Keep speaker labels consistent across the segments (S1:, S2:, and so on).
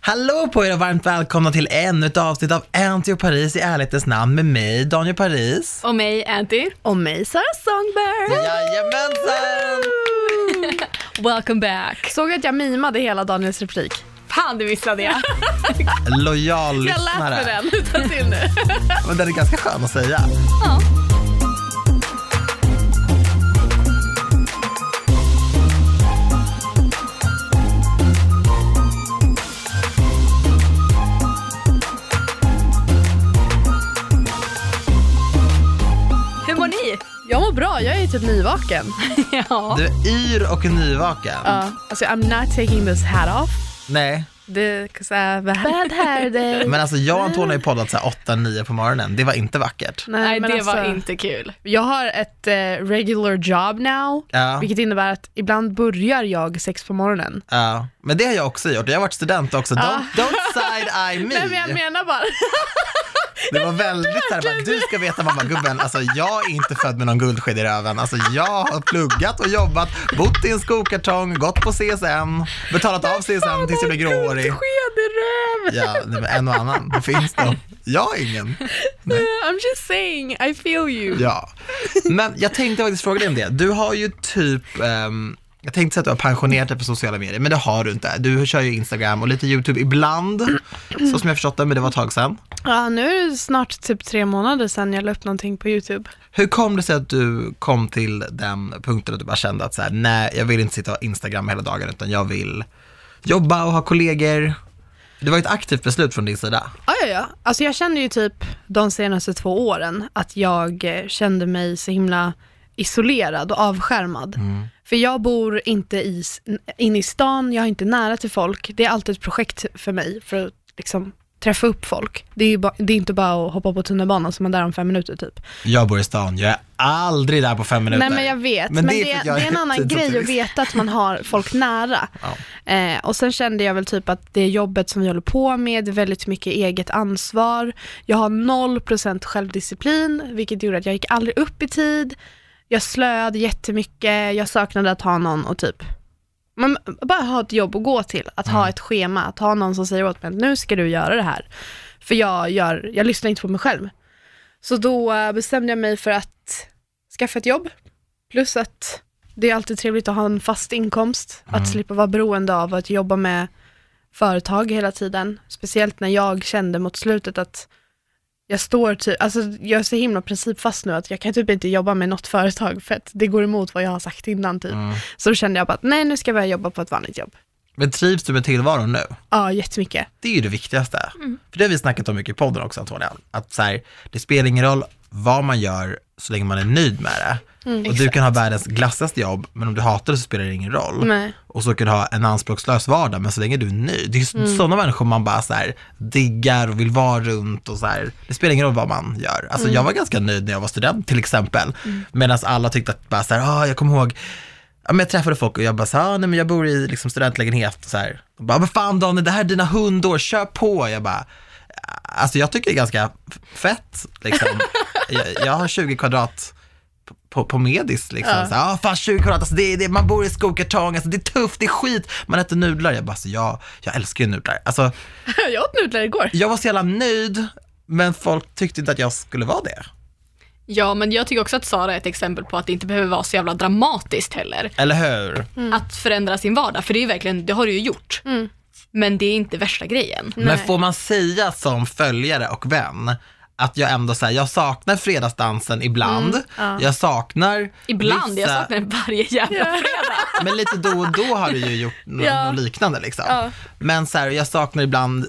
S1: Hallå på er och varmt välkomna till ännu ett avsnitt av Anty och Paris i ärlighetens namn med mig, Daniel Paris.
S2: Och mig, Anty.
S3: Och mig, Sara Songbird.
S1: Jajamensan!
S2: Welcome back.
S3: Såg du att jag mimade hela Daniels replik?
S2: Fan, det missade jag.
S1: Lojal
S3: Jag lät
S1: lyssnare.
S3: med den. Ta till nu.
S1: Men den är ganska skön att säga.
S2: Hur mår ni?
S3: Jag mår bra, jag är typ nyvaken.
S2: Ja.
S1: Du är yr och nyvaken.
S3: Ja. Alltså, I'm not taking this hat off.
S1: Nej,
S3: Det, cause I have a bad hair day.
S1: men alltså jag och Antonija har ju poddat så här 8-9 på morgonen. Det var inte vackert.
S2: Nej,
S3: men
S2: det
S3: alltså,
S2: var inte kul.
S3: Jag har ett eh, regular job now,
S1: Ja.
S3: vilket innebär att ibland börjar jag sex på morgonen.
S1: Ja, men det har jag också gjort. Jag har varit student också. Don't, don't side-eye me.
S3: Nej, men jag menar bara.
S1: Det var väldigt såhär, bara, du ska veta mamma gubben, alltså jag är inte född med någon guldsked i röven. Alltså jag har pluggat och jobbat, bott i en skokartong, gått på CSN, betalat av CSN tills jag blev gråhårig.
S3: Sked i röv.
S1: Ja, nej, men en och annan, det finns de. Jag har ingen.
S3: I'm just saying, I feel you.
S1: Ja. Men jag tänkte faktiskt fråga dig om det. Du har ju typ, ehm, jag tänkte säga att du har pensionerat dig på sociala medier, men det har du inte. Du kör ju Instagram och lite YouTube ibland, så som jag förstått det, men det var ett tag sedan.
S3: Ja, nu är det snart typ tre månader sedan jag la upp någonting på YouTube.
S1: Hur kom det sig att du kom till den punkten att du bara kände att så här, nej, jag vill inte sitta och Instagram hela dagen, utan jag vill jobba och ha kollegor? Det var ju ett aktivt beslut från din sida.
S3: Ja, ja, ja. Alltså jag kände ju typ de senaste två åren att jag eh, kände mig så himla isolerad och avskärmad. För jag bor inte i, s- n- inne i stan, jag är inte nära till folk. Det är alltid ett projekt för mig för att liksom träffa upp folk. Det är, ju ba- det är inte bara att hoppa på tunnelbanan som man är där om fem minuter typ.
S1: Jag bor i stan, jag är aldrig där på fem minuter.
S3: Nej men jag vet, men, det,
S1: för
S3: det,
S1: att jag
S3: är en annan grej att
S1: tidsoptimist.
S3: veta att man har folk nära. Eh, och sen kände jag väl typ att det jobbet som vi håller på med, det är väldigt mycket eget ansvar. Jag har 0% självdisciplin, vilket gjorde att jag gick aldrig upp i tid. Jag slöade jättemycket, jag saknade att ha någon och typ man bara ha ett jobb att gå till, att ha ett schema, att ha någon som säger åt mig att nu ska du göra det här. För jag, gör, jag lyssnar inte på mig själv. Så då eh, bestämde jag mig för att skaffa ett jobb, plus att det är alltid trevligt att ha en fast inkomst, att slippa vara beroende av att jobba med företag hela tiden. Speciellt när jag kände mot slutet att jag står typ, alltså jag är så himla principfast nu att jag kan typ inte jobba med något företag för att det går emot vad jag har sagt innan typ. Så då kände jag bara att nej nu ska jag börja jobba på ett vanligt jobb.
S1: Men trivs du med tillvaron nu?
S3: Ja, jättemycket.
S1: Det är ju det viktigaste. För det har vi snackat om mycket i podden också Antonija, att så här, det spelar ingen roll vad man gör så länge man är nöjd med det. och du kan ha världens glassigaste jobb, men om du hatar det så spelar det ingen roll.
S3: Nej.
S1: Och så kan du ha en anspråkslös vardag, men så länge du är nöjd. Det är mm. sådana människor man bara så här, diggar och vill vara runt och så här. Det spelar ingen roll vad man gör. Alltså jag var ganska nöjd när jag var student till exempel. Medan alla tyckte att bara så här, ah, jag kommer ihåg Ja, men jag träffade folk och jag bara så här, ah, nej men jag bor i liksom studentlägenhet och så här. De bara, "Ah, men fan Daniel, det här är dina hundår, kör på. Jag bara, alltså jag tycker det är ganska f- fett liksom. jag, jag har 20 kvadrat på- på, på medis liksom. Ja. Så, här, ah, fan 20 kvadrat, alltså, det, är- det, är- man bor i skokartong, alltså, det är tufft, det är skit. Man äter nudlar, jag bara, alltså, jag, jag älskar ju nudlar. Alltså,
S3: jag åt nudlar igår.
S1: jag var så jävla nöjd, men folk tyckte inte att jag skulle vara det.
S2: Ja, men jag tycker också att Sara är ett exempel på att det inte behöver vara så jävla dramatiskt heller.
S1: Eller hur?
S2: Att förändra sin vardag, för det är ju verkligen, det har du ju gjort. Men det är inte värsta grejen.
S1: Men får man säga som följare och vän att jag ändå säger, jag saknar fredagsdansen ibland, jag saknar
S2: Mm, Ibland,
S1: vissa,
S2: jag saknar den varje jävla fredag.
S1: Men lite då och då har du ju gjort nå-
S3: Ja.
S1: något liknande liksom.
S3: Ja.
S1: Men så här, jag saknar ibland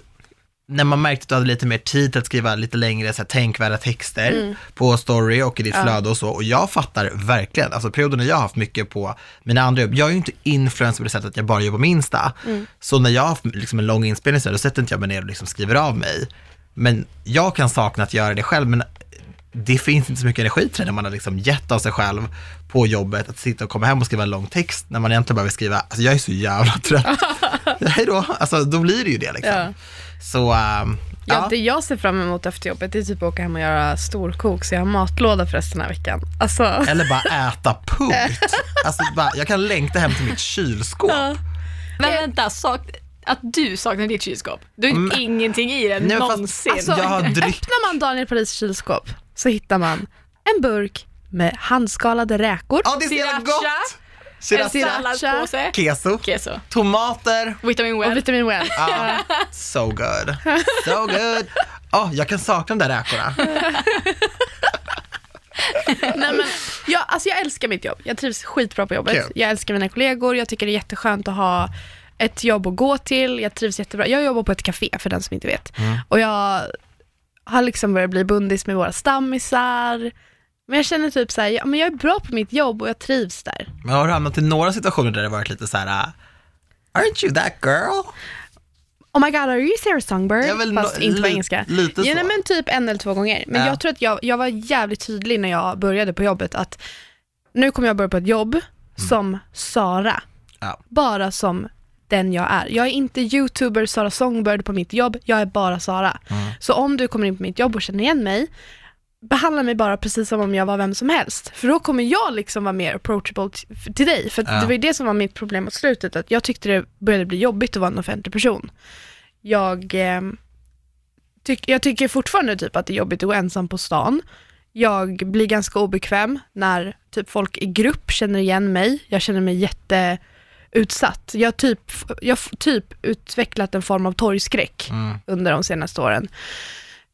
S1: när man märkte att du hade lite mer tid till att skriva lite längre så här, tänkvärda texter på story och i ditt flöde och så. Och jag fattar verkligen, alltså perioden när jag har haft mycket på mina andra jobb, jag är ju inte influencer på det sättet att jag bara jobbar med Insta. Så när jag har haft liksom, en lång inspelning så här, då sätter inte jag mig ner och liksom skriver av mig. Men jag kan sakna att göra det själv, men det finns inte så mycket energi till det när man har liksom gett av sig själv på jobbet, att sitta och komma hem och skriva en lång text när man egentligen behöver skriva, alltså jag är så jävla trött. Hej då, alltså då blir det ju det liksom.
S3: Ja.
S1: Så, ehm,
S3: Ja,
S1: ja.
S3: Det jag ser fram emot efter jobbet det är typ att åka hem och göra storkok så jag har matlåda för resten av veckan. Alltså,
S1: Eller bara äta punkt. Alltså, bara, jag kan längta hem till mitt kylskåp.
S2: Men vänta, sak, Att du saknar ditt kylskåp. Du har
S1: Mm.
S2: ingenting i det
S1: Nej, men fast-
S2: någonsin.
S3: Alltså,
S1: Jag har dryck.
S3: öppnar man Daniel Paris kylskåp så hittar man en burk med handskalade räkor,
S1: Ja, det är så jävla
S2: Sriracha.
S1: gott!
S2: en
S1: Sriracha,
S2: salladspåse.
S1: keso,
S2: Keso.
S1: tomater.
S2: Vitamin
S3: och
S2: well.
S3: vitamin well.
S1: Ah, so good. So good. Oh, jag kan sakna de där räkorna.
S3: Nej, men, jag, alltså jag älskar mitt jobb. Jag trivs skitbra på jobbet.
S1: Kul.
S3: Jag älskar mina kollegor. Jag tycker det är jätteskönt att ha ett jobb att gå till. Jag trivs jättebra. Jag jobbar på ett café för den som inte vet.
S1: Mm.
S3: Och jag har liksom börjat bli bundis med våra stammisar. Men jag känner typ så här, ja, men jag är bra på mitt jobb och jag trivs där.
S1: Men har du hamnat i några situationer där det varit lite så här, ah, aren't you that girl?
S3: Oh my god, are you Sarah Songbird?
S1: Ja, väl,
S3: Fast
S1: nå-
S3: inte på
S1: li-
S3: engelska.
S1: lite
S3: ja,
S1: så.
S3: nej, men typ en eller två gånger. Men
S1: Ja.
S3: jag tror att jag, jag var jävligt tydlig när jag började på jobbet att nu kommer jag börja på ett jobb som Sara.
S1: Mm. Ja.
S3: Bara som den jag är. Jag är inte youtuber Sara Songbird på mitt jobb, jag är bara Sara. Så om du kommer in på mitt jobb och känner igen mig, behandla mig bara precis som om jag var vem som helst. För då kommer jag liksom vara mer approachable t- till dig. För att
S1: Ja.
S3: det var ju det som var mitt problem mot slutet, att jag tyckte det började bli jobbigt att vara en offentlig person. Jag, eh, tyck, jag tycker fortfarande typ att det är jobbigt att gå ensam på stan. Jag blir ganska obekväm när typ folk i grupp känner igen mig. Jag känner mig jätteutsatt. Jag har typ, jag har typ utvecklat en form av torgskräck
S1: Mm.
S3: under de senaste åren.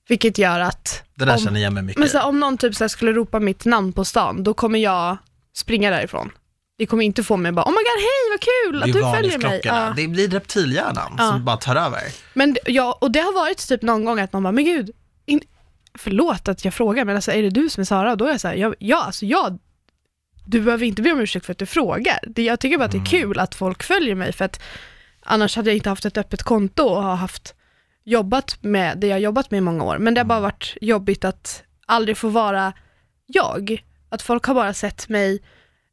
S3: Vilket gör att
S1: Det där
S3: Om-
S1: känner jag mig mycket
S3: men så
S1: i.
S3: här, om någon typ så här skulle ropa mitt namn på stan, då kommer jag springa därifrån. Det kommer inte få mig att bara, oh my god, hej vad kul att
S1: Det är
S3: du följer mig.
S1: varningsklockorna.
S3: Ja.
S1: Det blir reptilhjärnan
S3: Ja.
S1: som bara tar över.
S3: Men d- ja, och det har varit typ någon gång att någon bara, men gud, in, förlåt att jag frågar, men alltså är det du som är Sara? Och då är jag så här, ja, ja alltså jag, du behöver inte be om ursäkt för att du frågar. Det, jag tycker bara att det är kul att folk följer mig, för att annars hade jag inte haft ett öppet konto och har haft jobbat med det jag har jobbat med i många år. Men det har bara varit jobbigt att aldrig få vara jag. Att folk har bara sett mig,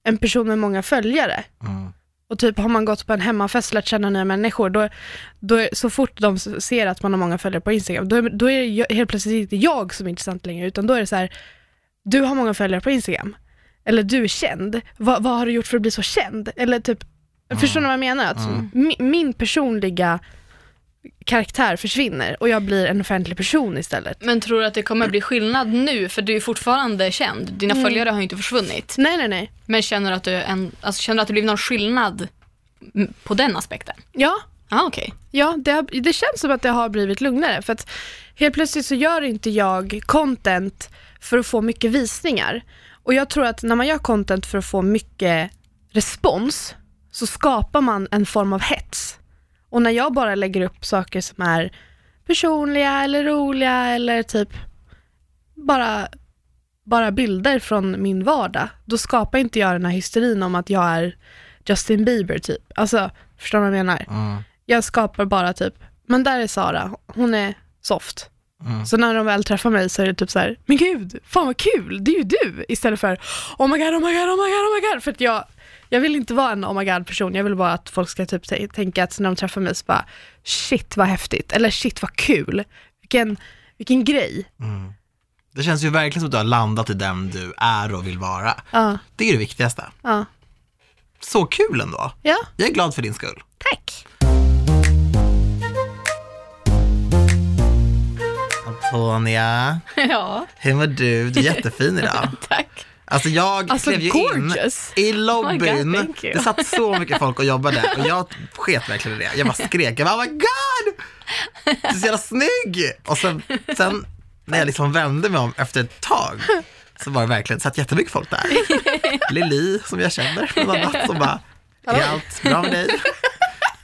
S3: en person med många följare.
S1: Mm.
S3: Och typ har man gått på en hemmafest och lärt känna nya människor, då, då är, så fort de s- ser att man har många följare på Instagram, då, är- då är det ju- helt plötsligt inte jag som är intressant längre, utan då är det så här, du har många följare på Instagram, eller du är känd, vad, vad har du gjort för att bli så känd? Eller typ, förstår ni vad jag menar? Att mi, min personliga karaktär försvinner och jag blir en offentlig person istället.
S2: Men tror du att det kommer bli skillnad nu? För du är fortfarande känd. Dina följare har ju inte försvunnit.
S3: Nej, nej, nej.
S2: Men känner du att, du en, alltså, känner du att det blivit någon skillnad mm, på den aspekten?
S3: Ja,
S2: Ja, ah, okej.
S3: Ja, det, har, det känns som att det har blivit lugnare. För att helt plötsligt så gör inte jag content för att få mycket visningar. Och jag tror att när man gör content för att få mycket respons så skapar man en form av hets. Och när jag bara lägger upp saker som är personliga eller roliga eller typ bara, bara bilder från min vardag, då skapar inte jag den här hysterin om att jag är Justin Bieber typ. Alltså, förstår du vad jag menar?
S1: Mm.
S3: Jag skapar bara typ, men där är Sara, hon är soft.
S1: Mm.
S3: Så när de väl träffar mig så är det typ så här, men gud, fan vad kul, det är ju du! Istället för, oh my god, oh my god, oh my god, oh my god. För att jag, jag vill inte vara en oh my god person, jag vill bara att folk ska typ t- tänka att när de träffar mig så bara, shit vad häftigt, eller shit vad kul, vilken, vilken grej.
S1: Det känns ju verkligen som att du har landat i den du är och vill vara.
S3: Ja,
S1: Det är det viktigaste.
S3: ja,
S1: Så kul ändå.
S3: ja,
S1: Jag är glad för din skull.
S3: tack.
S1: Antonia,
S2: Ja,
S1: hur mår du? Du är jättefin idag.
S2: tack.
S1: Alltså jag
S3: Alltså,
S1: klev ju
S3: gorgeous.
S1: in i
S2: Oh
S1: lobbyn.
S2: my God, thank you.
S1: det satt så mycket folk och jobbade och jag sket verkligen i det. Jag bara skrek, jag bara, oh my god! Du är så jävla snygg! Och sen, sen när jag liksom vände mig om efter ett tag så var det verkligen, det satt jättemycket folk där. Lili som jag känner bland annat som bara, är allt bra med dig?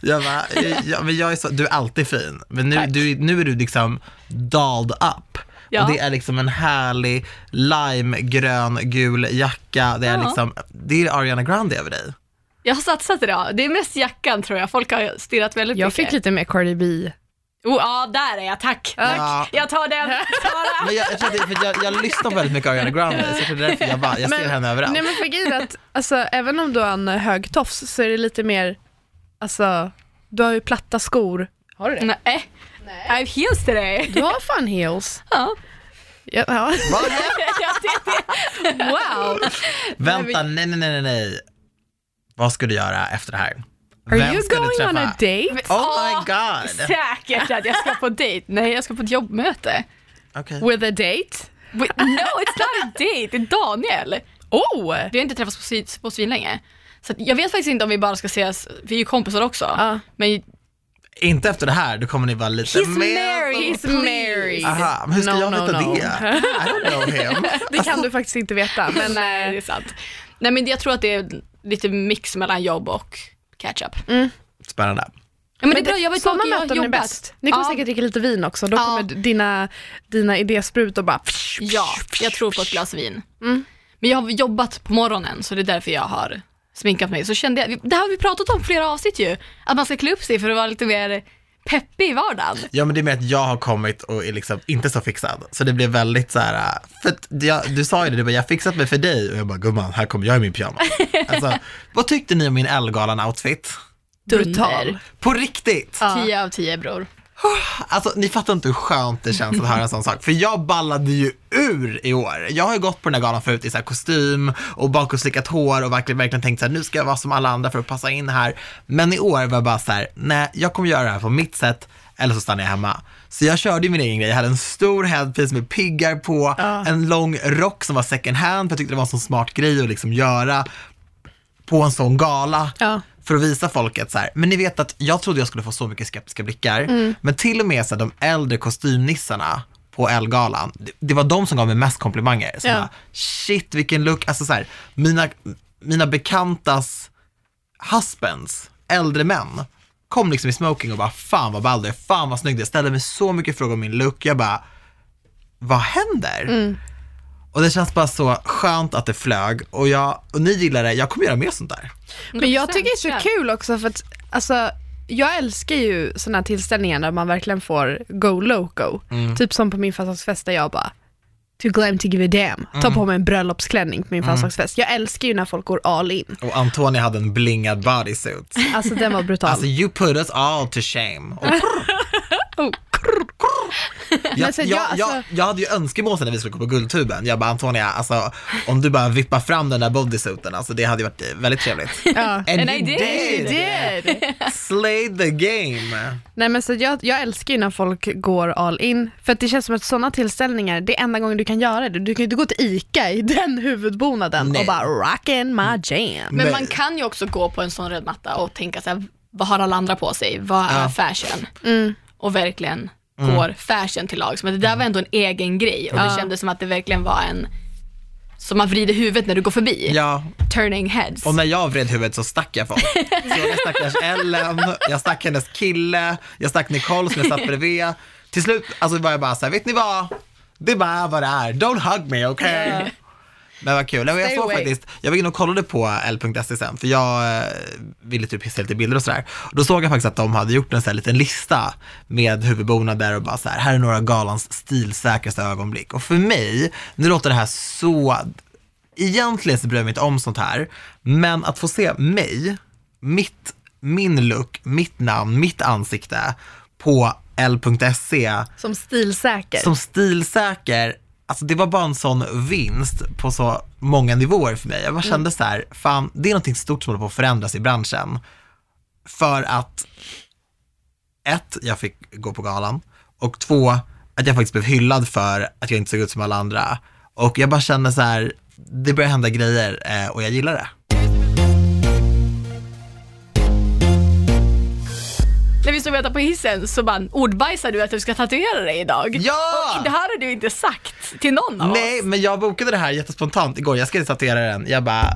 S1: Jag bara, ja, men jag är så, du är alltid fin, men nu, du, nu är du liksom dolled up.
S2: Ja.
S1: Och det är liksom en härlig limegrön gul jacka. Det är,
S2: Ja.
S1: liksom, det är Ariana Grande över dig.
S2: Jag har satsat idag. Det är mest jackan tror jag. Folk har stirrat väldigt
S3: Jag
S2: mycket.
S3: fick lite mer Cardi B.
S2: Oh, ja, där är jag. Tack.
S1: Ja.
S2: Jag tar den. Sara.
S1: Men jag, jag, tror att det, för jag, jag lyssnar på väldigt mycket Ariana Grande, så jag tror det är därför jag, bara, jag ser henne överallt.
S3: Nej men för grejen är att, alltså, även om du har en hög tofs så är det lite mer, alltså, du har ju platta skor. Har du
S2: Nej. Nej. Eh, I've heels today.
S3: Du har fan heels.
S2: Ja.
S3: Ja, ja.
S1: Va?
S2: Ja, det- det-
S3: Wow.
S1: Vänta, nej, nej, nej, nej, nej. Vad ska du göra efter det här?
S3: Are
S1: Vem
S3: you
S1: ska du
S3: going on
S1: träffa?
S3: a date? Ah,
S1: Oh my god!
S2: Säkert att jag ska på dejt. Nej, jag ska på ett jobbmöte.
S1: Okej.
S3: With a date?
S2: Wait, no, it's not a date. Det är Daniel.
S3: Oh!
S2: Vi har inte träffats på, svin, på svin länge. Så att jag vet faktiskt inte om vi bara ska ses, vi är ju kompisar också.
S3: Ja.
S2: Men
S1: Inte efter det här, då kommer ni vara lite
S3: He's
S1: mer...
S3: married, he's
S2: please.
S3: married.
S1: Aha, men hur ska
S3: No,
S1: jag
S3: no,
S1: veta
S3: no.
S1: det? I don't know him.
S3: Det kan du faktiskt inte veta. Men,
S2: nej, det är sant. Nej men jag tror att det är lite mix mellan jobb och catch up.
S1: Spännande.
S2: Ja, men, det är
S3: det-
S2: bra, jag var ju
S3: sådana
S2: tråkig, jag har
S3: möten är
S2: jobbat.
S3: bäst. Ni kommer
S2: Ja.
S3: säkert dricka lite vin också. Då
S2: Ja.
S3: kommer dina, dina idésprutor bara...
S2: Ja, jag tror på ett glas vin.
S3: Mm.
S2: Men jag har jobbat på morgonen så det är därför jag har sminkat mig. Så kände jag, det här har vi pratat om flera avsnitt ju, att man ska klä upp sig för att vara lite mer peppig i vardagen.
S1: Ja men det är med att jag har kommit och är liksom inte så fixad. Så det blev väldigt så här, äh, för att jag, du sa ju det, du bara, jag har fixat mig för dig och jag bara, gumman, här kommer jag i min pyjamas. Alltså, vad tyckte ni om min Ellegalan-outfit?
S3: Brutal.
S1: På riktigt!
S2: Ja. 10 av 10 bror.
S1: Alltså ni fattar inte hur skönt det känns att höra en sån sak. För jag ballade ju ur i år. Jag har ju gått på den här galan förut i så här kostym och bakåtslickat hår och verkligen, verkligen tänkt så här, nu ska jag vara som alla andra för att passa in här. Men i år var jag bara så här, nej, jag kommer göra det här på mitt sätt eller så stannar jag hemma. Så jag körde ju min egen grej. Jag hade en stor headpiece med piggar på, en lång rock som var second hand, för jag tyckte det var en sån smart grej att liksom göra på en sån gala
S3: Ja.
S1: för att visa folket så här. Men ni vet att jag trodde jag skulle få så mycket skeptiska blickar, men till och med så här, de äldre kostymnissarna på Ellegalan, det, det var de som gav mig mest komplimanger. Så
S3: Ja.
S1: bara, shit vilken look, alltså så här, mina, mina bekantas husbands, äldre män, kom liksom i smoking och bara fan vad ball du är, fan vad snygg du är, ställde mig så mycket frågor om min look, jag bara, vad händer? Och det känns bara så skönt att det flög och, jag, och ni gillar det, jag kommer göra mer sånt där.
S3: Men jag tycker det är
S2: Kör.
S3: så kul också för att alltså, jag älskar ju sådana här tillställningar där man verkligen får go loco.
S1: Mm.
S3: Typ som på min födelsedagsfest där jag bara To glam to give a damn.
S1: Mm.
S3: Ta på mig en bröllopsklänning på min födelsedagsfest. Jag älskar ju när folk går all in.
S1: Och Antonia hade en blingad bodysuit.
S3: Alltså den var brutal.
S1: Alltså you put us all to shame. Och
S3: Oh.
S1: jag,
S3: Men så
S1: jag,
S3: jag-
S1: jag,
S3: alltså-
S1: jag hade ju önskemål sen när vi skulle gå på Guldtuben. Jag bara Antonia, alltså om du bara vippar fram den där bodysuiten, alltså det hade ju varit eh, väldigt trevligt.
S3: Ja.
S1: And,
S2: And
S1: you
S2: I did.
S1: did! Slay the game!
S3: Nej men så jag, jag älskar ju när folk går all in, för att det känns som att sådana tillställningar, det är enda gången du kan göra det. Du kan ju inte gå till ICA i den huvudbonaden
S1: Nej.
S3: och bara rockin' my jam.
S2: Men
S1: Nej.
S2: man kan ju också gå på en sån röd matta och tänka så här, vad har alla andra på sig? Vad är
S1: Ja. Mm.
S2: fashion?
S3: Mm.
S2: Och verkligen går fashion till lags. Men det där var ändå en egen grej och det kändes som att det verkligen var en, som man vrider huvudet när du går förbi.
S1: Ja,
S2: Turning heads.
S1: och när jag vred huvudet så stack jag folk. Så jag stackars Ellen, jag stack hennes kille, jag stack Nicole som jag satt bredvid. Till slut alltså var jag bara såhär, vet ni vad? Det är bara vad det är, don't hug me, okay? Men vad kul. Nej, men jag
S3: Stay
S1: såg
S3: away.
S1: faktiskt, jag var inne och kollade på l.se E sen, för jag eh, ville typ se lite bilder och sådär. Och Då såg jag faktiskt att de hade gjort en sån här liten lista med huvudbonader och bara så här, här är några galans stilsäkraste ögonblick. Och för mig, nu låter det här så, egentligen så bryr jag mig inte om sånt här, men att få se mig, mitt, min look, mitt namn, mitt ansikte på l.se
S3: Som stilsäker.
S1: som stilsäker, alltså det var bara en sån vinst på så många nivåer för mig. Jag bara kände så här, fan det är någonting stort som håller på att förändras i branschen. För att, ett, jag fick gå på galan och två, att jag faktiskt blev hyllad för att jag inte såg ut som alla andra. Och jag bara kände så här, det börjar hända grejer eh, och jag gillar det.
S2: När vi stod och väntade på hissen så bara ordbajsade du att du ska tatuera dig idag.
S1: Ja!
S2: Och det här har du inte sagt till någon av
S1: Nej,
S2: oss.
S1: men jag bokade det här jättespontant igår. Jag skulle tatuera den. Jag bara,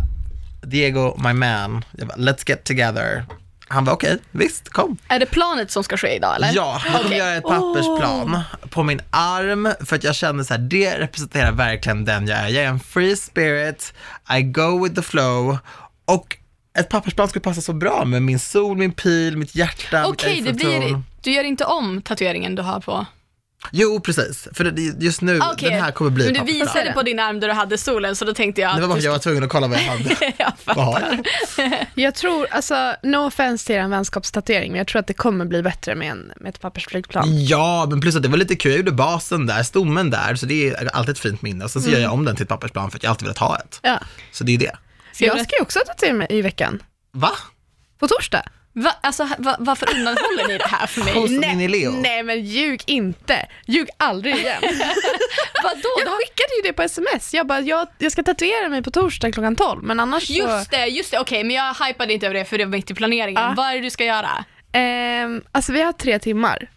S1: Diego, my man, jag bara, let's get together. Han var okej, visst, kom.
S2: Är det planet som ska ske idag eller?
S1: Ja, han kommer
S2: Okej. Oh.
S1: göra ett pappersplan på min arm för att jag känner så här, det representerar verkligen den jag är. Jag är en free spirit, I go with the flow och ett pappersplan skulle passa så bra med min sol, min pil, mitt hjärta,
S2: Okej,
S1: mitt
S2: det blir,
S1: Eiffeltorn.
S2: du gör inte om tatueringen du har på?
S1: Jo, precis. För det, just nu,
S2: Okej,
S1: den här kommer bli
S2: Men
S1: ett
S2: du
S1: pappersplan.
S2: visade på din arm där du hade solen så då tänkte jag
S1: Det var
S2: att
S1: bara för
S2: du
S1: att jag var tvungen att kolla vad jag hade.
S2: jag
S1: Vad har
S2: fattar.
S1: jag?
S3: Jag tror, alltså no offense till en vänskapstatuering, men jag tror att det kommer bli bättre med, en, med ett pappersflygplan.
S1: Ja, men plus att det var lite kul. Jag gjorde basen där, stommen där, så det är alltid ett fint minne. Och sen så gör jag
S2: Mm.
S1: om den till ett pappersplan för att jag alltid velat ha ett.
S3: Ja.
S1: Så det är det.
S3: Så jag ska ju också tatuera mig i veckan,
S1: Va?
S3: på torsdag.
S2: Va, alltså, va, varför undanhåller ni det här för mig?
S1: Som in i Leo.
S3: nej men ljug inte, ljug aldrig igen.
S2: Vadå?
S3: jag skickade ju det på sms, jag bara jag, jag ska tatuera mig på torsdag klockan 12 men annars så,
S2: Just det, just det. Okej, men jag hypade inte över det för det var mitt i planeringen.
S3: Ja.
S2: Vad är det du ska göra?
S3: ehm, alltså vi har tre timmar.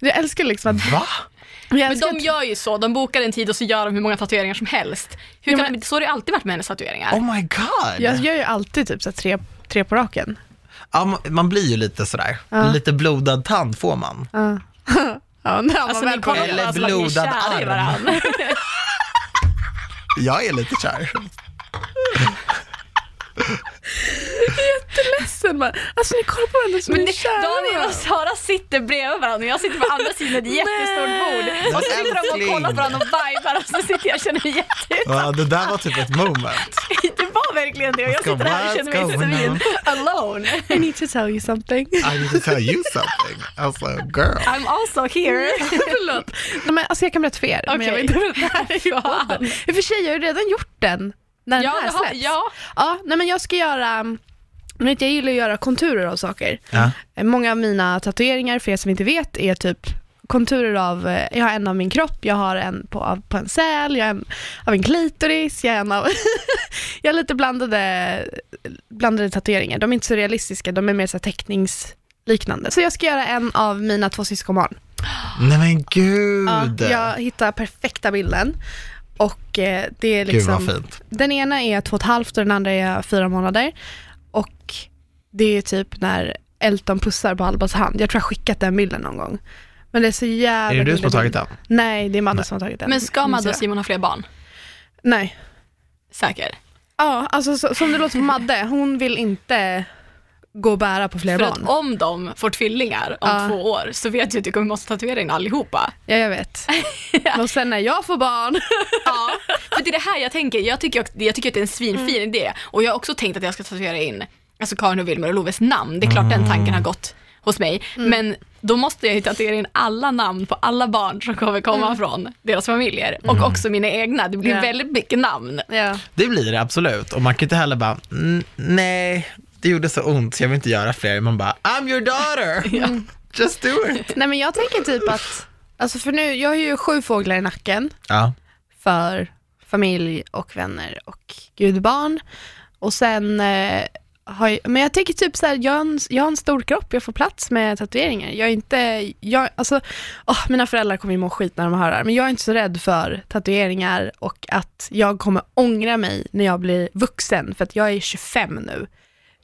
S3: Jag älskar liksom att,
S1: Va?
S3: Alltså, jag
S2: Men
S3: älskar
S2: de gör ju så, de bokar en tid och så gör de hur många tatueringar som helst. Hur
S3: Ja,
S2: kan
S3: men-
S2: de, så har det ju alltid varit med hennes tatueringar.
S1: Oh my god.
S3: Jag gör ju alltid typ så här tre, tre på raken.
S1: Ja, man- man blir ju lite sådär,
S3: Ja.
S1: lite blodad tand får man.
S3: Ja. ja, när man
S2: Alltså
S3: väl
S2: ni
S3: kommer.
S2: kollar på
S1: Eller
S2: varandra som att ni är
S1: blodad
S2: kära i
S1: arm.
S2: varandra.
S1: Jag är lite kär.
S3: Sen bara, alltså ni kollar på varandra som
S2: Men
S3: är
S2: ni, Daniel
S3: kära.
S2: och Sara sitter bredvid varandra och jag sitter på andra sidan ett jättestort bord. Och så sitter de och
S1: älskling.
S2: kollar på varandra och vibar och så sitter jag och känner mig jätte...
S1: Ja, det där var typ ett moment.
S2: Det var verkligen det och jag
S1: What's
S2: sitter här
S1: going-
S2: och känner mig
S1: what's going
S2: svin. Alone.
S3: I need to tell you something.
S1: I need to tell you something. Alltså, girl.
S2: I'm also here.
S3: Förlåt. Nej, men, alltså jag kan berätta för er, men jag vill inte berätta här i podden. I och för sig, jag har ju redan gjort den när den
S2: Ja,
S3: här
S2: det har-
S3: släpps. Mm,
S2: ja.
S3: ja, nej men jag ska göra men vet, jag gillar att göra konturer av saker.
S1: Ja.
S3: Eh, Många av mina tatueringar, för er som inte vet, är typ konturer av, eh, jag har en av min kropp, jag har en på, av, på en säl, jag har en av en klitoris, jag har en av, jag har lite blandade, blandade tatueringar. De är inte så realistiska, de är mer så här teckningsliknande. Så jag ska göra en av mina två syskonbarn.
S1: Nej men gud.
S3: Ja, jag hittar perfekta bilden. Och eh, det är
S1: Gud
S3: liksom,
S1: vad fint.
S3: den ena är två och ett halvt och den andra är fyra månader. Och det är typ när Elton pussar på Albas hand. Jag tror jag skickat den bilden någon gång. Men det är så jävla
S1: Är det du som har
S3: gullig
S1: tagit
S3: bild.
S1: den?
S3: Nej, det är Madde som har tagit den.
S2: Men ska Madde och
S3: Minns jag.
S2: Simon ha fler barn?
S3: Nej.
S2: Säker.
S3: Ja, alltså så, som det låter på Madde, hon vill inte gå och bära på fler
S2: För
S3: barn.
S2: att om de får tvillingar om
S3: Ja.
S2: två år så vet jag att du kommer måste tatuera in allihopa.
S3: Ja, jag vet. Och sen när jag får barn,
S2: Ja, för det är det här jag tänker. Jag tycker, också- jag tycker att det är en svinfin idé. Och jag har också tänkt att jag ska tatuera in alltså Karin och Wilmer och Loves namn. Det är klart den tanken har gått hos mig. Men då måste jag ju tatuera in alla namn på alla barn som kommer komma från deras familjer. Och också mina egna. Det blir
S3: Ja.
S2: väldigt mycket namn.
S3: ja.
S1: Det blir det absolut. Och man kan inte heller bara, "Mm, nej, det gjorde så ont så jag vill inte göra fler. Man bara, I'm your daughter.
S2: Mm.
S1: Just do it.
S3: Nej men jag tänker typ att, alltså för nu, jag har ju sju fåglar i nacken
S1: Ja.
S3: för familj och vänner och gudbarn. Och sen eh, har jag, men jag tänker typ så här, jag har, en, jag har en stor kropp, jag får plats med tatueringar. Jag är inte, jag, alltså, åh, mina föräldrar kommer ju må skit när de hör det här, men jag är inte så rädd för tatueringar och att jag kommer ångra mig när jag blir vuxen, för att jag är 25 nu.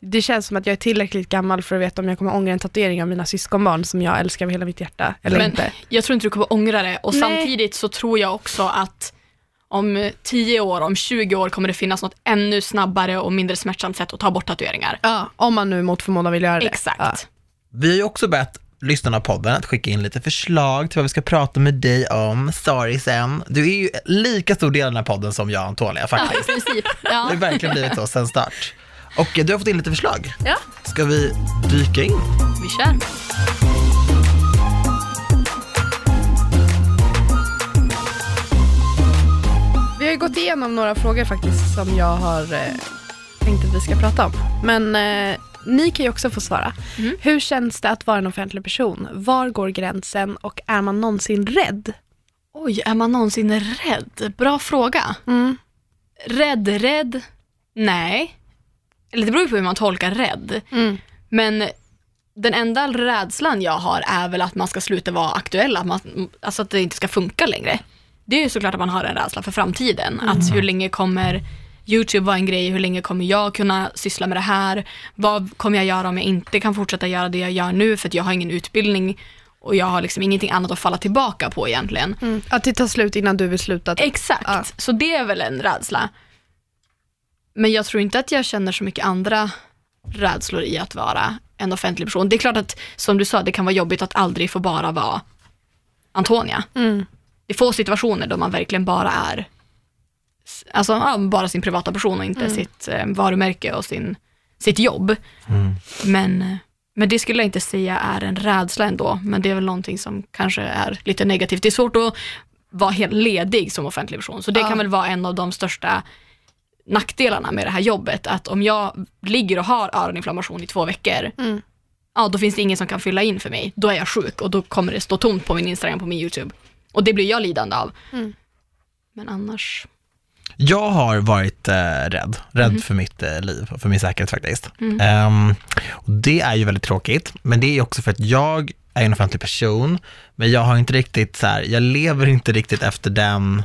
S3: Det känns som att jag är tillräckligt gammal för att veta om jag kommer ångra en tatuering av mina syskonbarn som jag älskar av hela mitt hjärta, eller
S2: Men
S3: inte.
S2: jag tror inte du kommer ångra det. Och
S3: Nej.
S2: samtidigt så tror jag också att om 10 år, om 20 år kommer det finnas något ännu snabbare och mindre smärtsamt sätt att ta bort tatueringar.
S3: Ja, om man nu mot förmodan vill göra det. Ja.
S2: Exakt.
S1: Vi har ju också bett lyssnarna på podden att skicka in lite förslag till vad vi ska prata med dig om. Sorry sen. Du är ju lika stor del av den här podden som jag och Antonia
S2: Ja,
S1: faktiskt.
S2: i princip. Ja.
S1: Det har verkligen blivit så sen start. Och eh, du har fått in lite förslag.
S3: Ja.
S1: Ska vi dyka in?
S2: Vi kör.
S3: Vi har ju gått igenom några frågor faktiskt som jag har eh, tänkt att vi ska prata om. Men eh, ni kan ju också få svara. Hur känns det att vara en offentlig person? Var går gränsen och är man någonsin rädd?
S2: Oj, är man någonsin rädd? Bra fråga.
S3: Mm.
S2: Rädd, rädd? Nej. Eller det beror ju på hur man tolkar rädd. Men den enda rädslan jag har är väl att man ska sluta vara aktuell, att man, alltså att det inte ska funka längre. Det är ju såklart att man har en rädsla för framtiden. Att hur länge kommer YouTube vara en grej, hur länge kommer jag kunna syssla med det här? Vad kommer jag göra om jag inte kan fortsätta göra det jag gör nu för att jag har ingen utbildning och jag har liksom ingenting annat att falla tillbaka på egentligen.
S3: Mm. Att det tar slut innan du vill sluta? typ.
S2: Exakt,
S3: Ja.
S2: så det är väl en rädsla. Men jag tror inte att jag känner så mycket andra rädslor i att vara en offentlig person. Det är klart att, som du sa, det kan vara jobbigt att aldrig få bara vara Antonia.
S3: Mm.
S2: Det är få situationer då man verkligen bara är, alltså ja, bara sin privata person och inte sitt eh, varumärke och sin, sitt jobb. Men, eh, men det skulle jag inte säga är en rädsla ändå, men det är väl någonting som kanske är lite negativt. Det är svårt att vara helt ledig som offentlig person, så det
S3: Ja.
S2: kan väl vara en av de största nackdelarna med det här jobbet. Att om jag ligger och har öroninflammation i två veckor,
S3: Mm.
S2: ja, då finns det ingen som kan fylla in för mig. Då är jag sjuk och då kommer det stå tomt på min Instagram, på min YouTube. Och det blir jag lidande av.
S3: Mm.
S2: Men annars,
S1: Jag har varit eh, rädd, rädd för mitt eh, liv och för min säkerhet faktiskt. Ehm, och det är ju väldigt tråkigt, men det är ju också för att jag är en offentlig person, men jag har inte riktigt så här, jag lever inte riktigt efter den,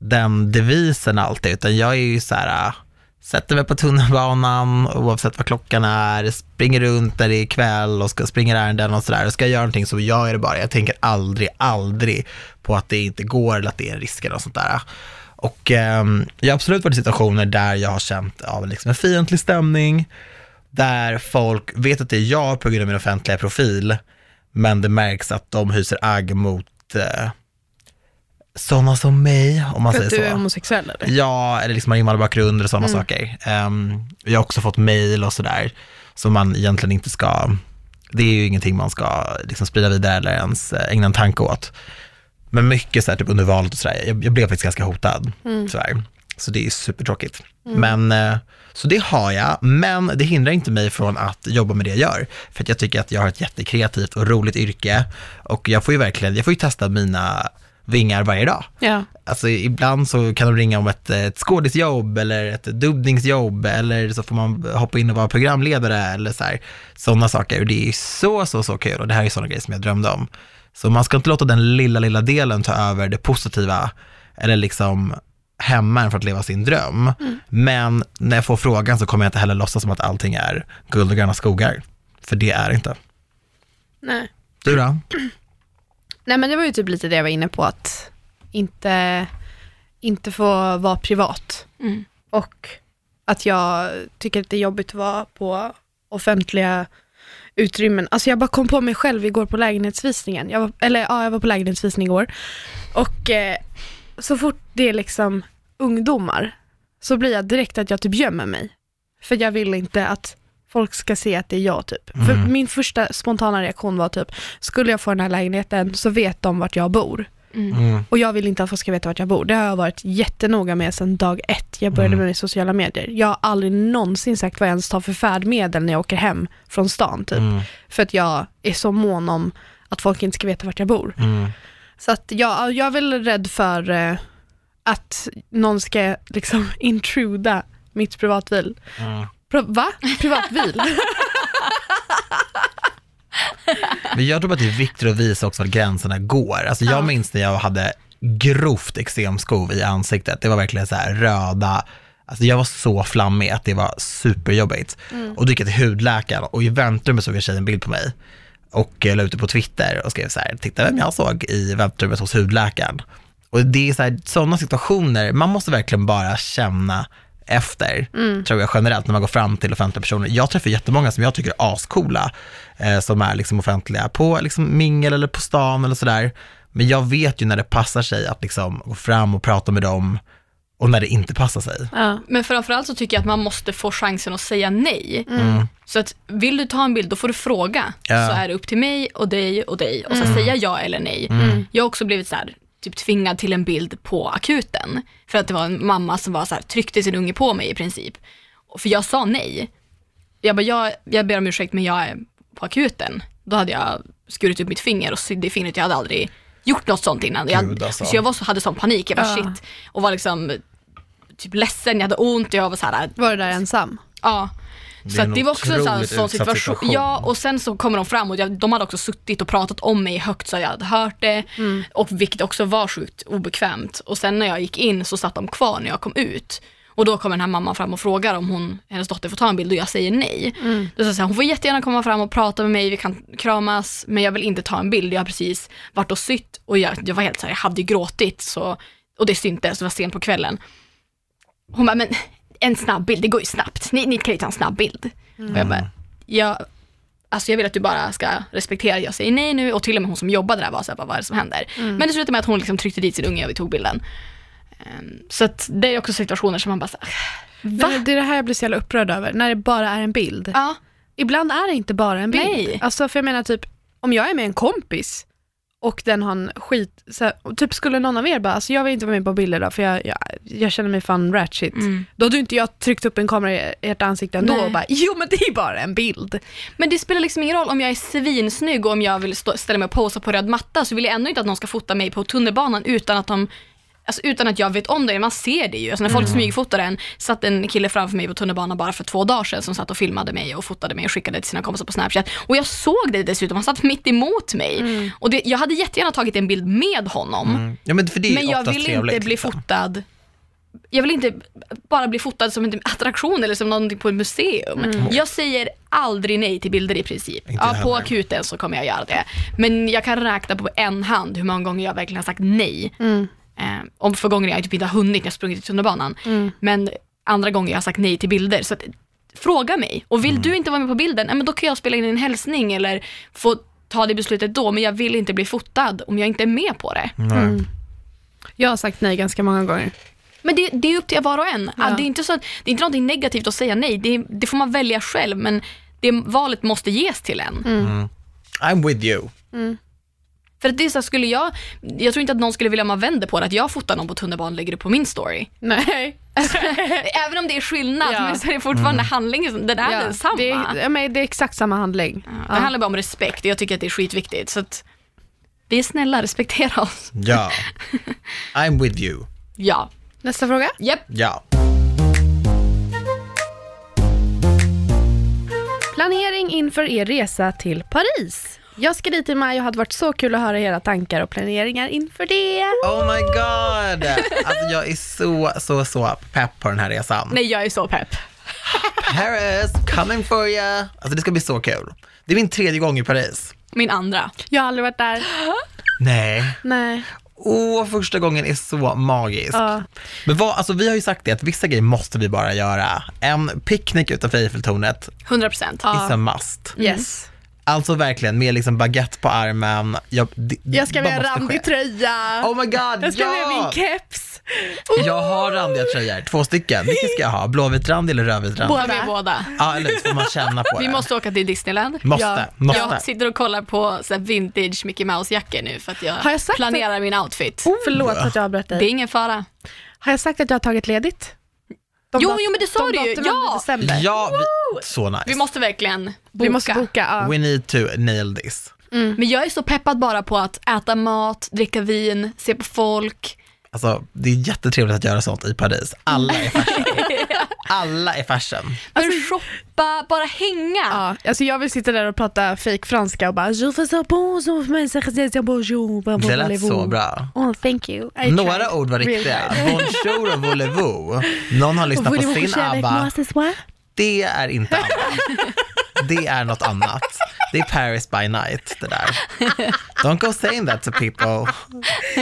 S1: den devisen alltid, utan jag är ju så här, äh, sätter mig på tunnelbanan oavsett vad klockan är, springer runt när det är kväll och ska springer ärenden och sådär. Och ska jag göra någonting så gör jag det bara. Jag tänker aldrig, aldrig på att det inte går eller att det är en risk eller något sånt där. Och ehm, jag har absolut varit i situationer där jag har känt av liksom en fientlig stämning, där folk vet att det är jag på grund av min offentliga profil, men det märks att de hyser agg mot eh, sådana som mig, om man
S3: För
S1: säger
S3: att
S1: så.
S3: du Alltså, är homosexuell eller?
S1: Ja, eller liksom har invandrarbakgrund och sådana saker. Ehm, jag har också fått mail och sådär, som man egentligen inte ska, det är ju ingenting man ska liksom sprida vidare eller ens eh, ägna en tanke åt. Men mycket så här, typ under valet och sådär, jag, jag blev faktiskt ganska hotad tyvärr. Så det är supertråkigt. Men, eh, så det har jag, men det hindrar inte mig från att jobba med det jag gör. För att jag tycker att jag har ett jättekreativt och roligt yrke och jag får ju verkligen, jag får ju testa mina vingar varje dag.
S3: Ja.
S1: Alltså ibland så kan de ringa om ett, ett skådisjobb eller ett dubbningsjobb eller så får man hoppa in och vara programledare eller så här, sådana saker. Och det är ju så, så, så kul och det här är sådana grejer som jag drömde om. Så man ska inte låta den lilla, lilla delen ta över det positiva eller liksom hemma för att leva sin dröm. Men när jag får frågan så kommer jag inte heller låtsas som att allting är guld och gröna skogar. För det är det inte.
S3: Nej.
S1: Du då?
S3: Nej men det var ju typ lite det jag var inne på, att inte, inte få vara privat.
S2: Mm.
S3: Och att jag tycker att det är jobbigt att vara på offentliga utrymmen. Alltså jag bara kom på mig själv igår på lägenhetsvisningen. Jag var, eller ja, jag var på lägenhetsvisning igår. Och eh, så fort det är liksom ungdomar så blir jag direkt att jag typ gömmer mig. För jag vill inte att folk ska se att det är jag typ. För min första spontana reaktion var typ, skulle jag få den här lägenheten så vet de vart jag bor.
S1: Mm.
S3: Och jag vill inte att folk ska veta vart jag bor. Det har jag varit jättenoga med sedan dag ett. Jag började med sociala medier. Jag har aldrig någonsin sagt vad jag ens tar för färdmedel när jag åker hem från stan typ.
S1: Mm.
S3: För att jag är så mån om att folk inte ska veta vart jag bor.
S1: Mm.
S3: Så att jag, jag är väl rädd för eh, att någon ska liksom intruda mitt privatliv.
S1: Mm.
S3: Pro- va? Privatbil?
S1: Men jag tror att det är viktigt att visa också att gränserna går. Alltså jag
S3: Ja.
S1: minns när jag hade grovt eksemskov i ansiktet. Det var verkligen så här röda, alltså jag var så flammig att det var superjobbigt. Och då gick jag till hudläkaren och i väntrummet såg en tjej en bild på mig och eh, la ut det på Twitter och skrev så här, titta vem jag såg i väntrummet hos hudläkaren. Och det är så här, sådana situationer, man måste verkligen bara känna efter,
S2: Mm.
S1: tror jag generellt, när man går fram till offentliga personer. Jag träffar jättemånga som jag tycker är ascoola, eh, som är liksom offentliga på liksom mingel eller på stan eller sådär. Men jag vet ju när det passar sig att liksom gå fram och prata med dem och när det inte passar sig.
S3: ja.
S2: men framförallt så tycker jag att man måste få chansen att säga nej. Så att vill du ta en bild, då får du fråga.
S1: Mm. Ja. Mm.
S2: Så är det upp till mig och dig och dig och så säga ja eller nej. Jag har också blivit så här, typ tvingad till en bild på akuten. För att det var en mamma som var så här, tryckte sin unge på mig i princip. Och För jag sa nej. Jag bara, jag, jag ber om ursäkt men jag är på akuten. Då hade jag skurit upp mitt finger och sydde i fingret. Jag hade aldrig gjort något sånt innan.
S1: Gud,
S2: Jag,
S1: alltså.
S2: Så jag var så, hade sån panik, jag bara
S3: Ja.
S2: shit. Och var liksom typ ledsen, jag hade ont, jag var så här,
S3: Var du där ensam?
S2: ja.
S1: Det
S2: Så
S1: är
S2: att det
S1: en
S2: var också en sån,
S1: otroligt
S2: sån
S1: utsatt
S2: situation.
S1: situation.
S2: Ja, och sen så kommer de fram och jag, de hade också suttit och pratat om mig högt så jag hade hört det. Och vilket också var sjukt obekvämt. Och sen när jag gick in så satt de kvar när jag kom ut. Och då kommer den här mamman fram och frågar om hon, hennes dotter får ta en bild och jag säger nej. Då sa jag så här, hon får jättegärna komma fram och prata med mig, vi kan kramas, men jag vill inte ta en bild. Jag har precis varit och sytt och jag, jag var helt så här, jag hade ju gråtit så, och det syntes, det var sent på kvällen. Hon bara, men en snabb bild, det går ju snabbt. Ni, ni kan ju ta en snabb bild. Och jag bara, jag, alltså jag vill att du bara ska respektera att jag säger nej nu och till och med hon som jobbade där var såhär, bara, vad är det som händer? Men det slutade med att hon liksom tryckte dit sin unge och vi tog bilden. Ehm, Så att det är också situationer som man bara såhär,
S3: Va?
S2: va?
S3: Det är det här jag blir så jävla upprörd över, när det bara är en bild.
S2: "Ah, ja,
S3: Ibland är det inte bara en bild.
S2: Nej.
S3: Alltså för jag menar typ, om jag är med en kompis och den har en skit, så här, och typ skulle någon av er bara, alltså jag vill inte vara med på bilder då för jag, jag, jag känner mig fan ratchet.
S2: Mm.
S3: Då hade ju inte jag tryckt upp en kamera i ert ansikte ändå
S2: Nej.
S3: och bara, jo men det är bara en bild.
S2: Men det spelar liksom ingen roll om jag är svinsnygg och om jag vill stå, ställa mig och posa på röd matta så vill jag ändå inte att någon ska fota mig på tunnelbanan utan att de Alltså utan att jag vet om det, man ser det ju. Alltså när folk smygfotar en, satt en kille framför mig på tunnelbanan bara för två dagar sedan som satt och filmade mig och fotade mig och skickade till sina kompisar på Snapchat. Och jag såg det dessutom, han satt mitt emot mig. Och det, jag hade jättegärna tagit en bild med honom.
S1: Mm. Ja, men för det är
S2: Men jag
S1: oftast
S2: vill
S1: trevligt,
S2: inte bli
S1: liksom.
S2: fotad jag vill inte bara bli fotad som en typ attraktion eller som någonting på ett museum. Jag säger aldrig nej till bilder i princip.
S1: Mm. Inte
S2: Ja,
S1: jag
S2: på
S1: heller.
S2: akuten så kommer jag göra det. Men jag kan räkna på en hand hur många gånger jag verkligen har sagt nej. Eh, om för gånger jag typ inte har hunnit när jag sprungit i tunnelbanan. Men andra gånger jag har sagt nej till bilder. Så att, fråga mig. Och vill
S1: Mm.
S2: du inte vara med på bilden, ja, men då kan jag spela in en hälsning eller få ta det beslutet då. Men jag vill inte bli fotad om jag inte är med på det.
S1: Nej.
S3: Jag har sagt nej ganska många gånger.
S2: Men det, det är upp till var och en.
S3: Ja.
S2: Det, är inte så att, det är inte någonting negativt att säga nej. Det, det får man välja själv, men det, valet måste ges till en.
S1: I'm with you.
S2: För att det är så här, skulle jag, jag tror inte att någon skulle vilja om man vänder på det, att jag fotar någon på tunnelbanan och lägger upp på min story.
S3: Nej.
S2: Alltså, även om det är skillnad,
S3: Ja.
S2: men så är det fortfarande handlingen, den är
S3: Ja,
S2: densamma.
S3: Det, är, ja, men det är exakt samma handling.
S2: Ja, Det handlar bara om respekt och jag tycker att det är skitviktigt. Så att, vi är snälla, respektera oss.
S1: Ja. I'm with you.
S2: Ja.
S3: Nästa fråga.
S2: Japp.
S1: Ja.
S3: Planering inför er resa till Paris. Jag ska dit i maj och hade varit så kul att höra era tankar och planeringar inför det.
S1: Oh my god. Alltså jag är så, så, så pepp på den här resan.
S2: Nej, jag är så pepp.
S1: Paris, coming for ya. Alltså det ska bli så kul. Det är min tredje gång i Paris.
S2: Min andra.
S3: Jag har aldrig varit där.
S1: Nej.
S3: Nej.
S1: Åh, första gången är så magisk.
S3: Ja.
S1: Men vad, alltså vi har ju sagt det att vissa grejer måste vi bara göra. En picknick utanför Eiffeltornet
S2: 100%.
S1: is a must.
S3: Yes.
S1: Alltså verkligen med liksom baguette på armen. Jag, det-
S3: Jag ska
S1: vad
S3: med en
S1: måste
S3: randig
S1: ske?
S3: tröja.
S1: Oh my god,
S3: jag ska
S1: ja!
S3: med min keps.
S1: Jag har randiga tröjor, två stycken. Vilken ska jag ha? Blåvit rand eller rödvit rand?
S2: Båda. Vi är båda.
S1: Ja, eller hur? Så får man känna på
S2: Vi
S1: det.
S2: måste åka till Disneyland.
S1: måste,
S3: Ja.
S1: måste.
S2: Jag sitter och kollar på så här vintage Mickey Mouse-jackor nu för att jag,
S3: Har jag sagt Oh.
S2: planerar min outfit.
S3: Förlåt att jag avbröt
S2: Det är
S3: dig.
S2: ingen fara.
S3: Har jag sagt att jag har tagit ledigt? De
S2: Jo,
S3: dat-
S2: jo, men det sa
S3: de
S2: du ju.
S3: datumen
S2: Ja.
S3: i december.
S1: Ja, vi, så nice.
S2: Vi måste verkligen boka.
S3: Vi måste Alltså, boka. Mm. Ja.
S1: We need to nail this.
S2: Men jag är så peppad bara på att äta mat, dricka vin, se på folk.
S1: Alltså, det är jättetrevligt att göra sånt i Paris. Alla är fashion. Alla är fashion.
S2: Men
S3: Alltså,
S2: shoppa, bara hänga.
S3: Ja, alltså jag vill sitta där och prata fake franska och bara Je fais ça bon, je fais ça bon, je fais ça bon, je fais ça
S1: Det lät
S3: bon,
S1: så
S3: bon.
S1: bra.
S3: Oh, thank you. I tried.
S1: Några ord var
S3: Really
S1: riktiga.
S3: tried.
S1: Bonjour och voulez-vous. Någon har lyssnat på
S3: Voulez-vous
S1: sin
S3: kärlek,
S1: ABBA.
S3: måste swa?
S1: Det är inte ABBA. Det är något annat. Det är Paris by night, det där. Don't go saying that to people.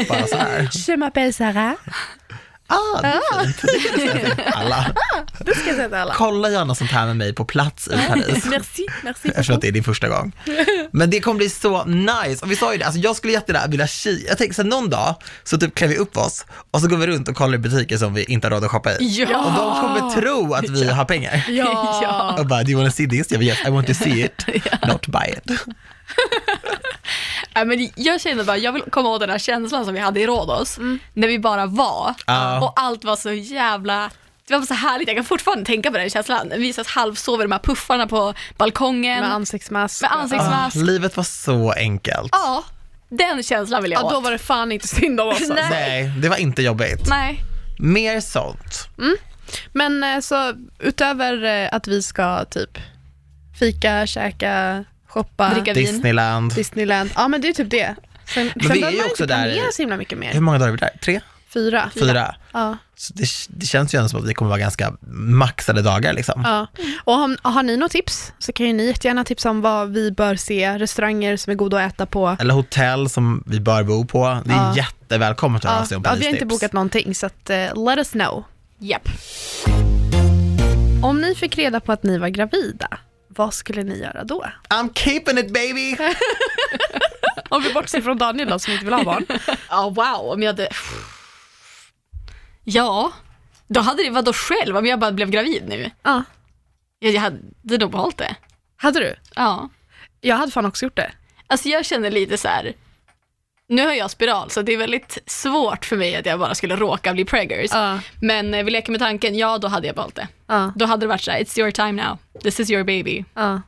S1: Bara så här.
S3: Je m'appelle Sarah.
S1: Ah, det är fint. Det kan du säga till alla.
S3: Det ska jag säga till alla.
S1: Kolla gärna sånt här med mig på plats i Paris.
S3: Merci, merci.
S1: Jag förstår att det är din första gång. Men det kommer bli så nice. Och vi sa ju det, alltså jag skulle jättegärna vilja ki. Jag tänkte så här, någon dag så typ klär vi upp oss och så går vi runt och kollar i butiker som vi inte har råd att shoppa i.
S2: Ja.
S1: Och de kommer tro att vi har pengar.
S3: Ja.
S2: Ja.
S1: Och bara, do you wanna see this? Jag bara, yes, I want to see it, not buy it.
S2: Nej, men jag känner bara, jag vill komma åt den här känslan som vi hade i Rhodos,
S3: Mm.
S2: när vi bara var
S1: Ja.
S2: och allt var så jävla det var så härligt, jag kan fortfarande tänka på den känslan. Vi satt halvsover i de här puffarna på balkongen.
S3: Med ansiktsmask.
S2: Med ansiktsmask.
S1: Ah, livet var så enkelt.
S2: Ja, den känslan vill jag
S3: Ja, då
S2: åt.
S3: var det fan inte synd om oss.
S2: Nej.
S3: alltså.
S1: Nej, det var inte jobbigt.
S2: Nej.
S1: Mer sånt.
S3: Men eh, så utöver eh, att vi ska typ fika, käka, shoppa,
S2: Dricka vin.
S1: Disneyland.
S3: Disneyland. Ja men det är typ det. Sen, sen
S1: vi är
S3: behöver
S1: ju
S3: man
S1: också
S3: inte
S1: där-
S3: planera så himla mycket
S1: Hur
S3: mer.
S1: många dagar är vi där? Tre?
S3: Fyra.
S1: Fyra?
S3: Ja.
S1: Så det, det känns ju ändå som att vi kommer vara ganska maxade dagar liksom.
S3: Ja. Och om, har ni något tips så kan ju ni jättegärna tipsa om vad vi bör se, restauranger som är goda att äta på.
S1: eller hotell som vi bör bo på. Det är
S3: Ja.
S1: jättevälkommet att höra av
S3: Ja,
S1: sig om
S3: ja, vi har inte
S1: Paris-tips.
S3: bokat någonting så att, eh, let us know.
S2: Japp.
S3: Om ni fick reda på att ni var gravida, vad skulle ni göra då?
S1: I'm keeping it baby!
S3: Om vi bortser från Daniel då, som inte vill ha barn.
S2: Ja, wow. Om jag hade... Ja. Då hade det, vadå själv? Om jag bara blev gravid nu?
S3: Ja.
S2: Jag, jag hade nog behållit det.
S3: Hade du?
S2: Ja.
S3: Jag hade fan också gjort det.
S2: Alltså jag känner lite så här. Nu har jag spiral så det är väldigt svårt för mig att jag bara skulle råka bli preggers.
S3: Ja.
S2: Men eh, vi leker med tanken, ja då hade jag valt det.
S3: Ja.
S2: Då hade det varit så här, it's your time now, this is your baby.
S3: Ja.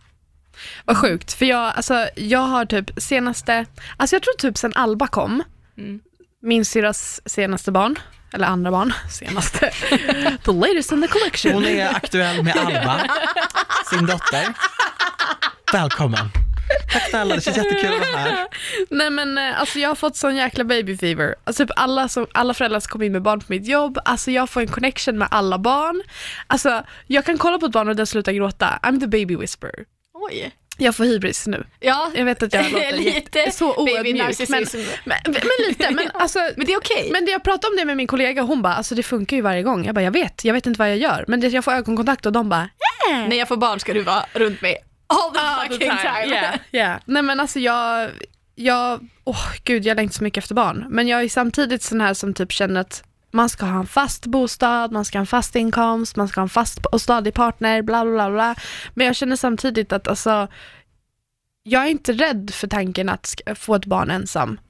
S3: Vad sjukt, för jag, alltså, jag har typ senaste, alltså jag tror typ sen Alba kom,
S2: Mm.
S3: min syrras senaste barn, eller andra barn, senaste, the latest in the collection.
S1: Hon är aktuell med Alba, sin dotter. Välkommen. Tack snälla, det känns jättekul att vara här.
S3: Nej men eh, alltså jag har fått sån jäkla baby fever. Alltså typ alla, som, alla föräldrar som kommer in med barn på mitt jobb, alltså jag får en connection med alla barn. Alltså jag kan kolla på ett barn och den slutar gråta. I'm the baby whisperer.
S2: Oj.
S3: Jag får hybris nu.
S2: Ja,
S3: Jag vet att jag låter
S2: lite
S3: jätte- så
S2: baby
S3: oödmjuk. Men,
S2: narcissism.
S3: men, men lite, men alltså
S2: Men det är okej.
S3: Men det jag pratade om det med min kollega, hon bara, alltså det funkar ju varje gång. Jag bara, jag vet, jag vet inte vad jag gör. Men det, jag får ögonkontakt och de bara,
S2: När jag får barn ska du vara runt mig all the fucking time.
S3: Yeah, yeah. Nej men alltså jag, jag, åh gud jag längtar så mycket efter barn. Men jag är samtidigt sån här som typ känner att man ska ha en fast bostad, man ska ha en fast inkomst, man ska ha en fast och stadig partner, bla bla bla. bla. Men jag känner samtidigt att alltså, jag är inte rädd för tanken att sk- få ett barn ensam.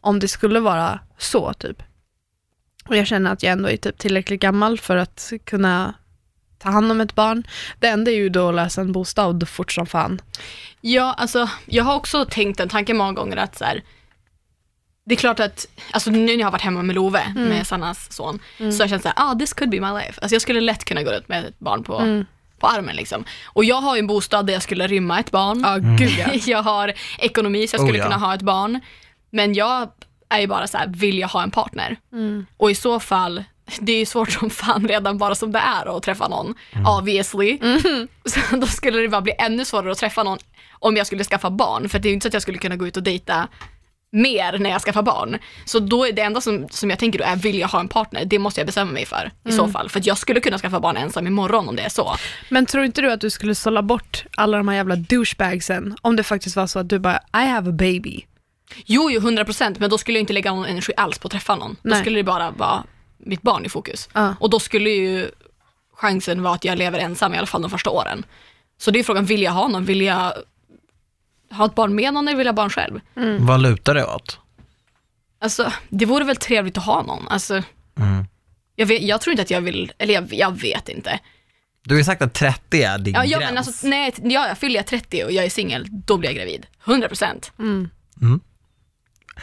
S3: Om det skulle vara så typ. Och jag känner att jag ändå är typ tillräckligt gammal för att kunna ta hand om ett barn. Det enda är ju då att lösa en bostad fort som fan.
S2: Ja, alltså jag har också tänkt den tanken många gånger att så här, det är klart att, alltså nu när jag har varit hemma med Love,
S3: Mm.
S2: med Sannas son, så har jag känt såhär, ah this could be my life. Alltså jag skulle lätt kunna gå ut med ett barn på,
S3: Mm.
S2: på armen liksom. Och jag har ju en bostad där jag skulle rymma ett barn.
S3: Ja, gud ja.
S2: jag har ekonomi så jag
S1: Oh,
S2: skulle
S1: ja.
S2: kunna ha ett barn. Men jag är ju bara så här, vill jag ha en partner?
S3: Mm.
S2: Och i så fall, det är ju svårt som fan redan bara som det är att träffa någon,
S1: Mm.
S2: obviously.
S3: Mm.
S2: Så då skulle det bara bli ännu svårare att träffa någon om jag skulle skaffa barn, för det är ju inte så att jag skulle kunna gå ut och dejta mer när jag skaffar barn. Så då är det enda som, som jag tänker då är, vill jag ha en partner? Det måste jag bestämma mig för i
S3: Mm.
S2: så fall. För att jag skulle kunna skaffa barn ensam imorgon om det är så.
S3: Men tror inte du att du skulle sålla bort alla de här jävla douchebagsen om det faktiskt var så att du bara I have a baby?
S2: Jo, jo, 100 procent, men då skulle jag inte lägga någon energi alls på att träffa någon. Då
S3: Nej.
S2: skulle det bara vara mitt barn i fokus.
S3: Ja.
S2: Och då skulle ju chansen vara att jag lever ensam i alla fall de första åren. Så det är frågan, vill jag ha någon? Vill jag ha ett barn med någon eller vill jag ha barn själv?
S3: Mm.
S1: Vad lutar det åt?
S2: Alltså, det vore väl trevligt att ha någon. Alltså,
S1: Mm.
S2: jag, vet, jag tror inte att jag vill, eller jag, jag vet inte.
S1: Du har ju sagt att 30 är din
S2: Ja, ja,
S1: gräns.
S2: men alltså, nej, ja, jag fyller jag 30 och jag är singel, då blir jag gravid. 100 procent.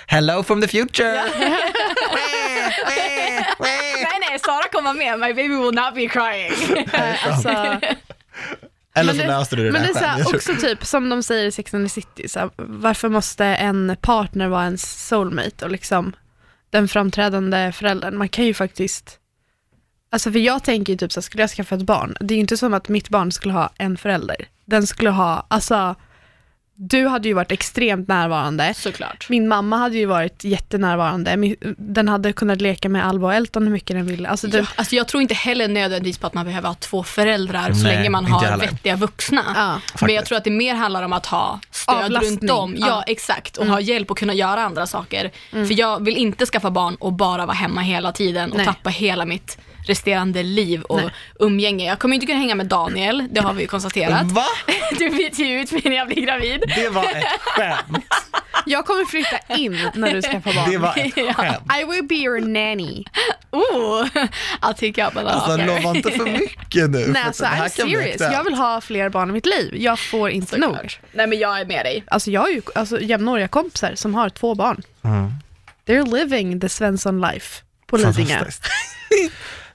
S1: Hello from the future!
S2: Nej, nej, Sara kommer med. My baby will not be crying.
S3: Eh, alltså,
S1: Eller så
S3: men det-
S1: löste du det
S3: men
S1: där
S3: det är så
S1: själv. Jag
S3: här,
S1: tror-
S3: också typ som de säger i Sex and the City, så här, varför måste en partner vara ens soulmate och liksom den framträdande föräldern? Man kan ju faktiskt Alltså för jag tänker ju typ så här, skulle jag skaffa ett barn, det är ju inte som att mitt barn skulle ha en förälder. Den skulle ha, alltså du hade ju varit extremt närvarande.
S2: Såklart.
S3: Min mamma hade ju varit jättenärvarande. Min- Den hade kunnat leka med Alva och Elton hur mycket den ville. Alltså det,
S2: Ja, alltså jag tror inte heller nödvändigtvis på att man behöver ha två föräldrar så
S1: Nej,
S2: länge man
S1: inte jag
S2: har
S1: heller.
S2: vettiga vuxna.
S3: Ja.
S2: Men jag
S1: Faktiskt.
S2: tror att det mer handlar om att ha stöd
S3: Avlastning.
S2: runt om. Ja, Mm.
S3: Ja.
S2: exakt. Och ha hjälp och kunna göra andra saker. För jag vill inte skaffa barn och bara vara hemma hela tiden och
S3: Nej.
S2: tappa hela mitt resterande liv och
S3: Nej.
S2: umgänge. Jag kommer inte kunna hänga med Daniel, det har vi ju konstaterat.
S1: Va?
S2: Du byter ju ut mig när jag blir gravid.
S1: Det var ett skämt.
S3: Jag kommer flytta in när du skaffar barn.
S1: Det var ett skämt.
S3: I will be your nanny.
S2: Oh, I'll take up a lot
S1: Alltså
S2: of her.
S1: lova inte för mycket nu.
S3: Nej
S1: för
S3: alltså
S1: det här
S3: I'm
S1: kan bli
S3: serious.
S1: aktuellt.
S3: Jag vill ha fler barn i mitt liv. Jag får inte nog.
S2: Nej men jag är med dig.
S3: Alltså jag har ju alltså, jämnåriga kompisar som har två barn.
S1: Mm.
S3: They're living the Svensson life på Lidingö.
S1: Fantastiskt.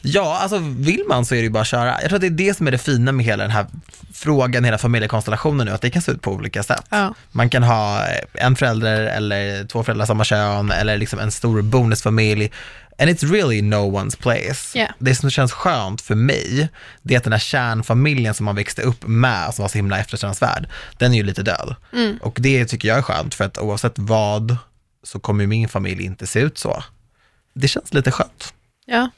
S1: Ja, alltså vill man så är det ju bara att köra. Jag tror att det är det som är det fina med hela den här frågan, hela familjekonstellationen nu, att det kan se ut på olika sätt.
S3: Ja.
S1: Man kan ha eh, en förälder eller två föräldrar samma kön eller liksom en stor bonusfamilj. And it's really no one's place.
S3: Yeah.
S1: Det som känns skönt för mig, det är att den här kärnfamiljen som man växte upp med, som var så himla eftersträvansvärd, den är ju lite död. Och det tycker jag är skönt, för att oavsett vad så kommer ju min familj inte se ut så. Det känns lite skönt.
S3: Ja.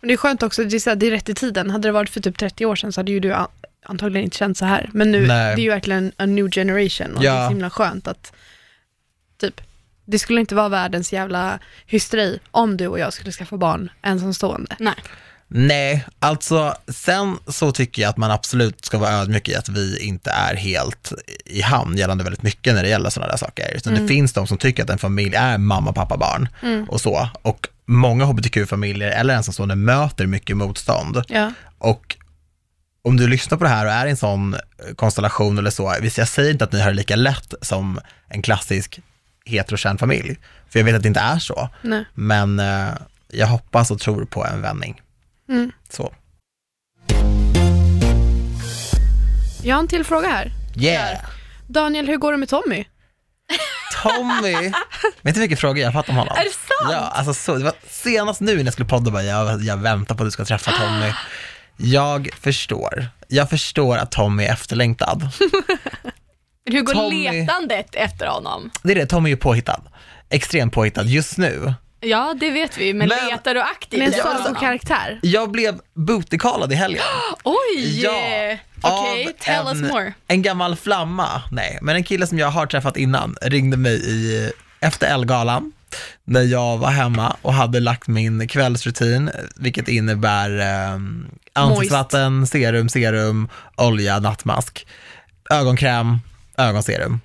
S3: Men det är skönt också, det är, så här, det är rätt i tiden. Hade det varit för typ 30 år sedan så hade ju du an- antagligen inte känt så här. Men nu,
S1: Nej.
S3: det är ju verkligen a new generation och
S1: Ja.
S3: det är så himla skönt att typ, det skulle inte vara världens jävla hysteri om du och jag skulle skaffa barn ensamstående.
S2: Nej.
S1: Nej, alltså sen så tycker jag att man absolut ska vara ödmjuk i att vi inte är helt i hamn gällande väldigt mycket när det gäller sådana där saker. Utan det finns de som tycker att en familj är mamma, pappa, barn och så. Och många hbtq-familjer eller ensamstående möter mycket motstånd.
S3: Ja.
S1: Och om du lyssnar på det här och är i en sån eh, konstellation eller så, visst jag säger inte att ni har det lika lätt som en klassisk heterokärnfamilj, för jag vet att det inte är så.
S3: Nej.
S1: Men eh, jag hoppas och tror på en vändning.
S3: Mm.
S1: Så.
S3: Jag har en till fråga här.
S1: Yeah!
S3: Daniel, hur går det med Tommy?
S1: Tommy! Vet du vilken fråga jag fattar om honom?
S2: Är det sant?
S1: Ja, alltså så, det var senast nu när jag skulle podda bara, jag, jag väntar på att du ska träffa Tommy. Jag förstår. Jag förstår att Tommy är efterlängtad.
S2: Men Hur går
S1: Tommy.
S2: letandet efter honom?
S1: Det är det, Tommy är ju påhittad. Extremt påhittad just nu.
S2: Ja, det vet vi, men,
S1: Men-
S2: letar du aktivt?
S3: Med en
S2: efter
S3: sago
S2: honom?
S3: karaktär.
S1: Jag blev bootycallad i helgen.
S2: Oj!
S1: Ja,
S2: Okej,
S1: av
S2: tell
S1: en,
S2: us more.
S1: En gammal flamma, nej, men en kille som jag har träffat innan ringde mig i, efter Elgalan när jag var hemma och hade lagt min kvällsrutin, vilket innebär eh, ansiktsvatten, serum, serum, olja, nattmask, ögonkräm, ögonserum.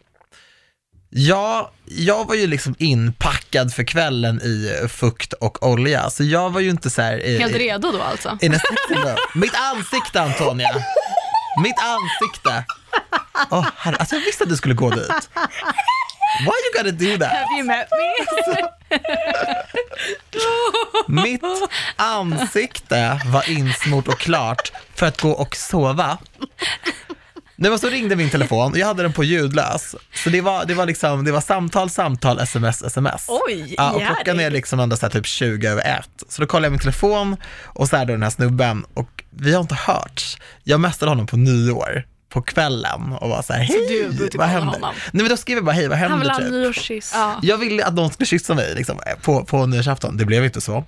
S1: Ja, jag var ju liksom inpackad för kvällen i fukt och olja, så jag var ju inte så här... eh, i-
S2: Helt redo då alltså?
S1: i nästa sekund. Mitt ansikte Antonia! Mitt ansikte! Åh herre, alltså jag visste att du skulle gå dit. Why you gotta do that?
S3: Have you met me?
S1: Mitt ansikte var insmort och klart för att gå och sova. Nej, men så ringde min telefon och jag hade den på ljudlös. Så det var, det var, liksom, det var samtal, samtal, sms, sms.
S2: Oj,
S1: ja, och klockan
S2: jävligt.
S1: är liksom ändå så här typ 20 över ett. Så då kollar jag min telefon och så är då den här snubben och vi har inte hörts. Jag mästade honom på nyår på kvällen och var så här,
S2: du
S1: hej,
S2: borde
S1: vad
S2: kolla
S1: händer?
S2: honom.
S1: Nej men då skrev jag bara, hej, vad händer?
S3: Han vill ha
S1: typ.
S3: en nyårskyss.
S2: Ja.
S1: Jag ville att någon skulle kyssa mig liksom, på, på nyårsafton, det blev inte så.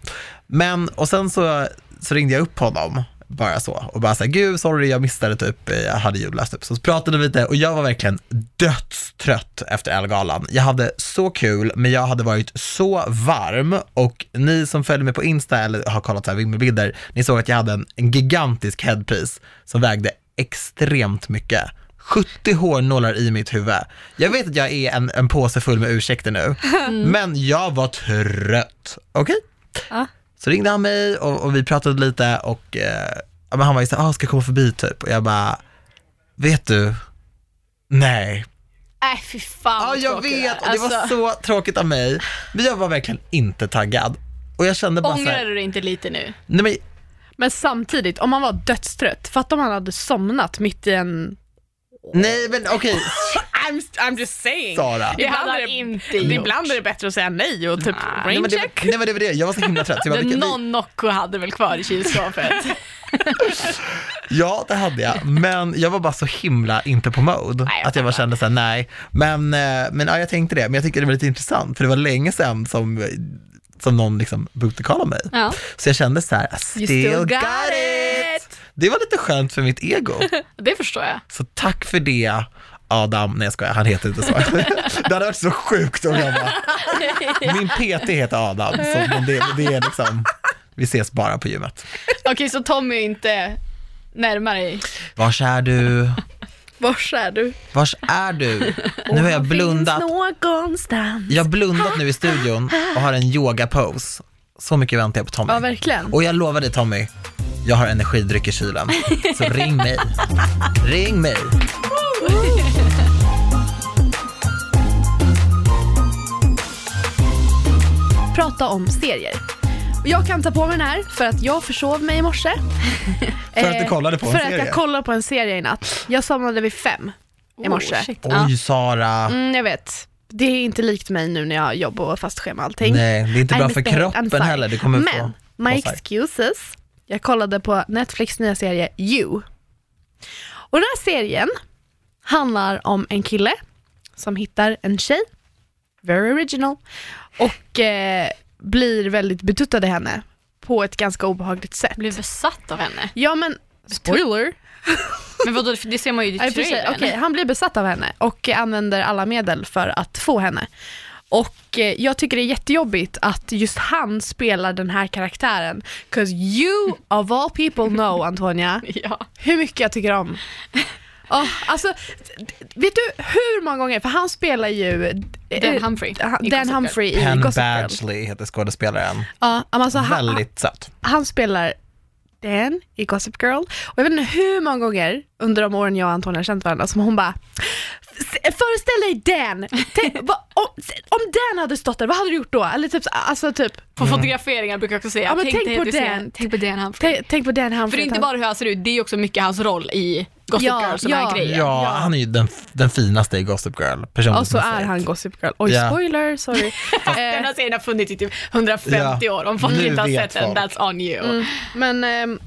S1: Men, och sen så, så ringde jag upp honom, bara så, och bara såhär, gud sorry jag missade typ, eh, jag hade julläst upp. Så pratade vi lite och jag var verkligen dödstrött efter Ellegalan. Jag hade så kul, men jag hade varit så varm och ni som följer mig på Insta eller har kollat så här vimmelbilder, ni såg att jag hade en, en gigantisk headpiece som vägde extremt mycket. 70 hårnålar i mitt huvud. Jag vet att jag är en, en påse full med ursäkter nu, men jag var trött. Okej?
S3: Mm. Ja.
S1: Så ringde han mig och, och vi pratade lite och eh, ja, men han var ju såhär, ah, ska jag komma förbi typ? Och jag bara, vet du? Nej.
S2: Nej, fy fan
S1: Ja, jag
S2: vad tråkigt
S1: vet. Och
S2: är.
S1: det var
S2: Alltså,
S1: så tråkigt av mig. Men jag var verkligen inte taggad. Och jag kände bara
S2: Ångrar
S1: såhär,
S2: du dig inte lite nu?
S1: nej men
S3: Men samtidigt, om han var dödstrött, fatta om han hade somnat mitt i en...
S1: Nej men okej,
S3: I'm, I'm just saying.
S1: Sara.
S2: Det hade han inte
S3: det-
S2: gjort.
S3: ibland är det bättre att säga nej och typ
S1: Nej men, det,
S3: braincheck.
S1: nej men det var det, jag var så himla trött. Så jag bara,
S2: Den
S1: vilka- vi-
S2: någon Nocco hade väl kvar i kylskåpet?
S1: Ja, det hade jag, men jag var bara så himla inte på mode.
S2: Nej, jag
S1: att jag bara kände såhär, nej. Men, eh, men ja, jag tänkte det, men jag tyckte det var lite intressant, för det var länge sedan som, som någon liksom bootycallade mig.
S2: ja.
S1: Så jag kände så här, I still, got, it. Det var lite skönt för mitt ego.
S2: Det förstår jag.
S1: Så tack för det, Adam. Nej jag skojar, han heter inte så. det hade varit så sjukt om jag bara, min PT heter Adam, så, men det, det är liksom, vi ses bara på gymmet.
S2: Okej, så Tommy är inte närmare i...
S1: Vars är du?
S3: Vars är du?
S1: Vars är du? Nu har jag blundat.
S3: Finns någonstans.
S1: Jag har blundat nu i studion och har en yoga-pose. Så mycket väntar jag på Tommy.
S3: Ja, verkligen.
S1: Och jag lovar dig Tommy, jag har energidryck i kylen. Så ring mig. Ring mig.
S3: Prata om serier. Och jag kan ta på mig den här för att jag försov mig i morse. Eh,
S1: För att du kollade på en
S3: För
S1: serie?
S3: att jag kollade på en serie i natt. Jag somnade vid fem i morse.
S2: Oh, shit. Ja.
S1: Oj Sara.
S3: Mm, jag vet. Det är inte likt mig nu när jag har jobb och fast schema och allting.
S1: Nej, det är inte
S3: I
S1: bra
S3: miss
S1: för
S3: the hate. I'm
S1: kroppen
S3: sorry.
S1: heller. Du kommer
S3: Men,
S1: få...
S3: my
S1: få så här.
S3: excuses. Jag kollade på Netflix nya serie You. Och den här serien handlar om en kille som hittar en tjej, very original, och eh, blir väldigt betuttad i henne på ett ganska obehagligt sätt.
S2: Blev besatt av henne.
S3: Ja men, spoiler!
S2: Men vadå, det ser man ju i
S3: Ja, i och för sig.
S2: trailern.
S3: Okej, han blir besatt av henne och använder alla medel för att få henne. Och eh, jag tycker det är jättejobbigt att just han spelar den här karaktären. 'Cause you of all people know Antonia,
S2: Ja.
S3: hur mycket jag tycker om. Oh, alltså, d- d- vet du hur många gånger, för han spelar ju eh,
S2: Dan Humphrey
S3: eh,
S2: i Gossip
S3: Dan
S2: Girl.
S3: Humphrey i
S1: Penn
S3: Gossip Girl.
S1: Badgley heter skådespelaren.
S3: Ja, men alltså, han,
S1: Väldigt söt.
S3: han spelar Dan i Gossip Girl. Och jag vet inte hur många gånger under de åren jag och Antonija har känt varandra som hon bara "S- Föreställ dig Dan! Tänk, vad- om, om Dan hade stått där, vad hade du gjort då? Eller typ, så- alltså typ,
S2: På fotograferingar brukar jag också säga,
S3: Ja, men tänk
S2: dig
S3: på
S2: att du ser-
S3: den.
S2: tänk på den han
S3: tänk, tänk på Dan han
S2: För det är inte bara hur han ser ut, det är också mycket hans roll i Gossip
S3: Ja,
S2: Girl och sådana
S3: ja.
S2: här grejer.
S1: Ja, han är ju den, den finaste i Gossip Girl. personligt
S3: Och så är
S1: mässigt.
S3: han Gossip Girl. Oj,
S1: Ja.
S3: spoiler, sorry. Ehm,
S2: Den här serien har funnits i typ 150
S1: Ja.
S2: år, om folk
S1: Nu
S2: inte har
S1: vet
S2: sett den,
S1: folk.
S2: that's on you.
S3: Mm. Men ehm,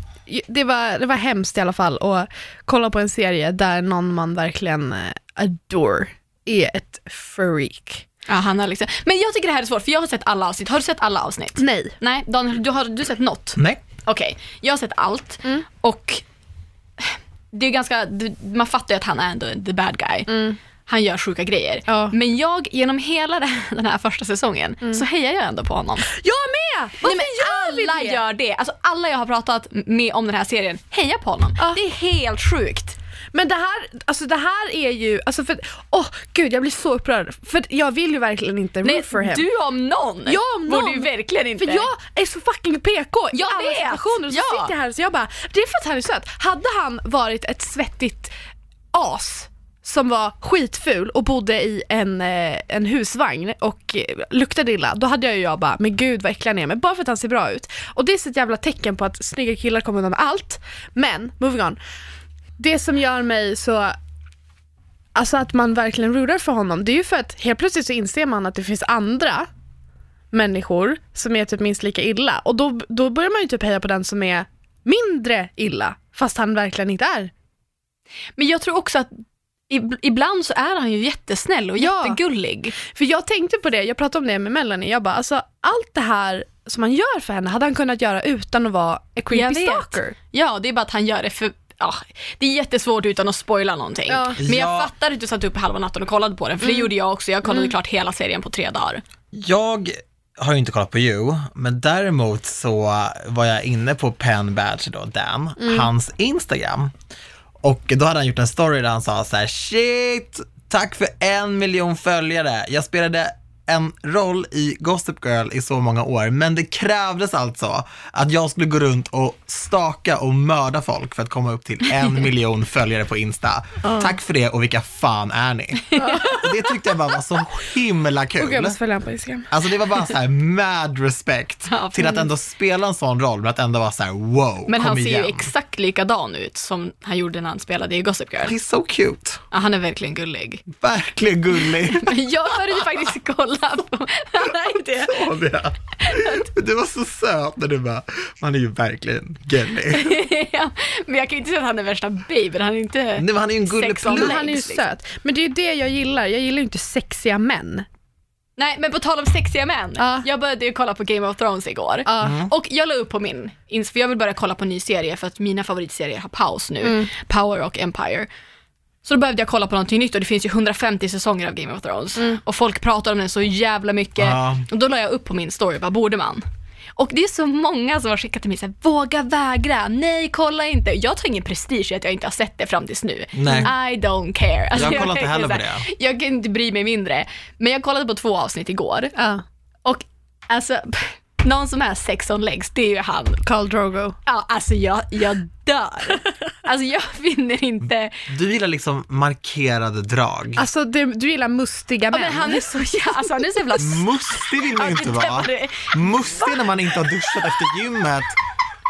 S3: det var, det var hemskt i alla fall att kolla på en serie där någon man verkligen eh, adore är ett freak.
S2: Ja, han har liksom. Men jag tycker det här är svårt, för jag har sett alla avsnitt. Har du sett alla avsnitt?
S3: Nej.
S2: Nej, Daniel, du har du har sett något?
S1: Nej,
S2: Okej, jag har sett allt
S3: Mm.
S2: och det är ganska, du- man fattar ju att han är ändå the bad guy. Han gör sjuka grejer.
S3: Mm. Ja.
S2: Men jag, genom hela det- den här första säsongen, så hejar jag ändå på honom.
S3: Jag med! Varför
S2: Nej, men
S3: gör vi
S2: alla
S3: det?
S2: gör det. Alltså, alla jag har pratat med om den här serien hejar på honom.
S3: Ja.
S2: Det är helt sjukt.
S3: Men det här, alltså det här är ju, alltså för, åh gud jag blir så upprörd. För jag vill ju verkligen inte root for him.
S2: du om någon
S3: Jag om
S2: borde
S3: någon.
S2: ju verkligen inte...
S3: För jag är så fucking PK i
S2: Jag
S3: alla
S2: vet,
S3: situationer. Och så
S2: ja.
S3: sitter jag här och så jag bara, det är för att han är söt. Hade han varit ett svettigt as som var skitful och bodde i en, eh, en husvagn och eh, luktade illa, då hade jag ju jag bara, men gud vad äcklig han är, men bara för att han ser bra ut. Och det är så ett jävla tecken på att snygga killar kommer undan med allt. Men, moving on. Det som gör mig så Alltså att man verkligen rootar för honom, det är ju för att helt plötsligt så inser man att det finns andra människor som är typ minst lika illa och då, då börjar man ju typ heja på den som är mindre illa fast han verkligen inte är.
S2: Men jag tror också att ib- ibland så är han ju jättesnäll och
S3: Ja.
S2: jättegullig.
S3: För jag tänkte på det, jag pratade om det med Melanie, jag bara alltså allt det här som han gör för henne hade han kunnat göra utan att vara a
S2: Jag
S3: creepy
S2: vet.
S3: stalker.
S2: Ja, det är bara att han gör det för... Ja, det är jättesvårt utan att spoila någonting.
S3: Ja. Mm.
S2: Men jag
S1: Ja.
S2: fattar att du satt upp halva natten och kollade på den, för det gjorde jag också. Jag kollade klart hela serien på tre dagar.
S1: jag har ju inte kollat på You, men däremot så var jag inne på Penn Badger då, Dan, hans Instagram. Och då hade han gjort en story där han sa så här: shit, tack för en miljon följare. Jag spelade en roll i Gossip Girl i så många år, men det krävdes alltså att jag skulle gå runt och staka och mörda folk för att komma upp till en miljon följare på Insta. Tack för det och vilka fan är ni? Och det tyckte jag bara var så himla kul.
S3: Okej, jag måste följa honom på Instagram.
S1: Alltså det var bara så här mad respect
S2: Ja,
S1: till att ändå spela en sån roll, men att ändå vara så här wow,
S2: Men
S1: kom
S2: han ser
S1: igen.
S2: ju exakt likadan ut som han gjorde när han spelade i Gossip Girl.
S1: He's so cute.
S2: Ja, han är verkligen gullig.
S1: Verkligen gullig.
S2: Jag började faktiskt kolla på... Nej, det.
S1: Åh, det- Du var så söt när du bara, man är ju verkligen gullig.
S2: Ja, Men jag kan ju inte säga att han är värsta babyn, han är inte...
S1: Nej, men han är ju en gullig
S2: Sex on
S1: plutt.
S3: Men han är ju
S2: Legs, liksom.
S3: söt. Men det är ju det jag gillar, jag gillar ju inte sexiga män.
S2: Nej men på tal om sexiga män,
S3: Ja.
S2: jag började ju kolla på Game of Thrones igår.
S3: Ja.
S1: Mm.
S2: Och jag la upp på min, ins- för jag vill börja kolla på en ny serie för att mina favoritserier har paus nu,
S3: Mm.
S2: Power och Empire. Så då behövde jag kolla på någonting nytt och det finns ju 150 säsonger av Game of Thrones.
S3: Mm.
S2: Och folk pratar om den så jävla mycket.
S1: Ja.
S2: Och då la jag upp på min story, vad borde man? Och det är så många som har skickat till mig såhär, våga vägra, nej kolla inte. Jag tar ingen prestige i att jag inte har sett det fram tills nu.
S1: Nej.
S2: I don't care. Alltså,
S1: Jag kollar
S2: kan
S1: inte heller på
S2: såhär, Jag kan inte bry mig mindre. Men jag kollade på två avsnitt igår.
S3: Ja.
S2: Och alltså, pff, någon som är sex on legs, det är ju han.
S3: Carl Drogo.
S2: Ja, alltså jag, jag dör. Alltså jag finner inte...
S1: Du gillar liksom markerade drag.
S3: Alltså du, du gillar mustiga
S2: Ja,
S3: män.
S2: men han är så jävla... Alltså han är så jävla... s-
S1: Mustig vill man ju
S2: Ja,
S1: inte
S2: det
S1: vara.
S2: där var det.
S1: Mustig när man inte har duschat efter gymmet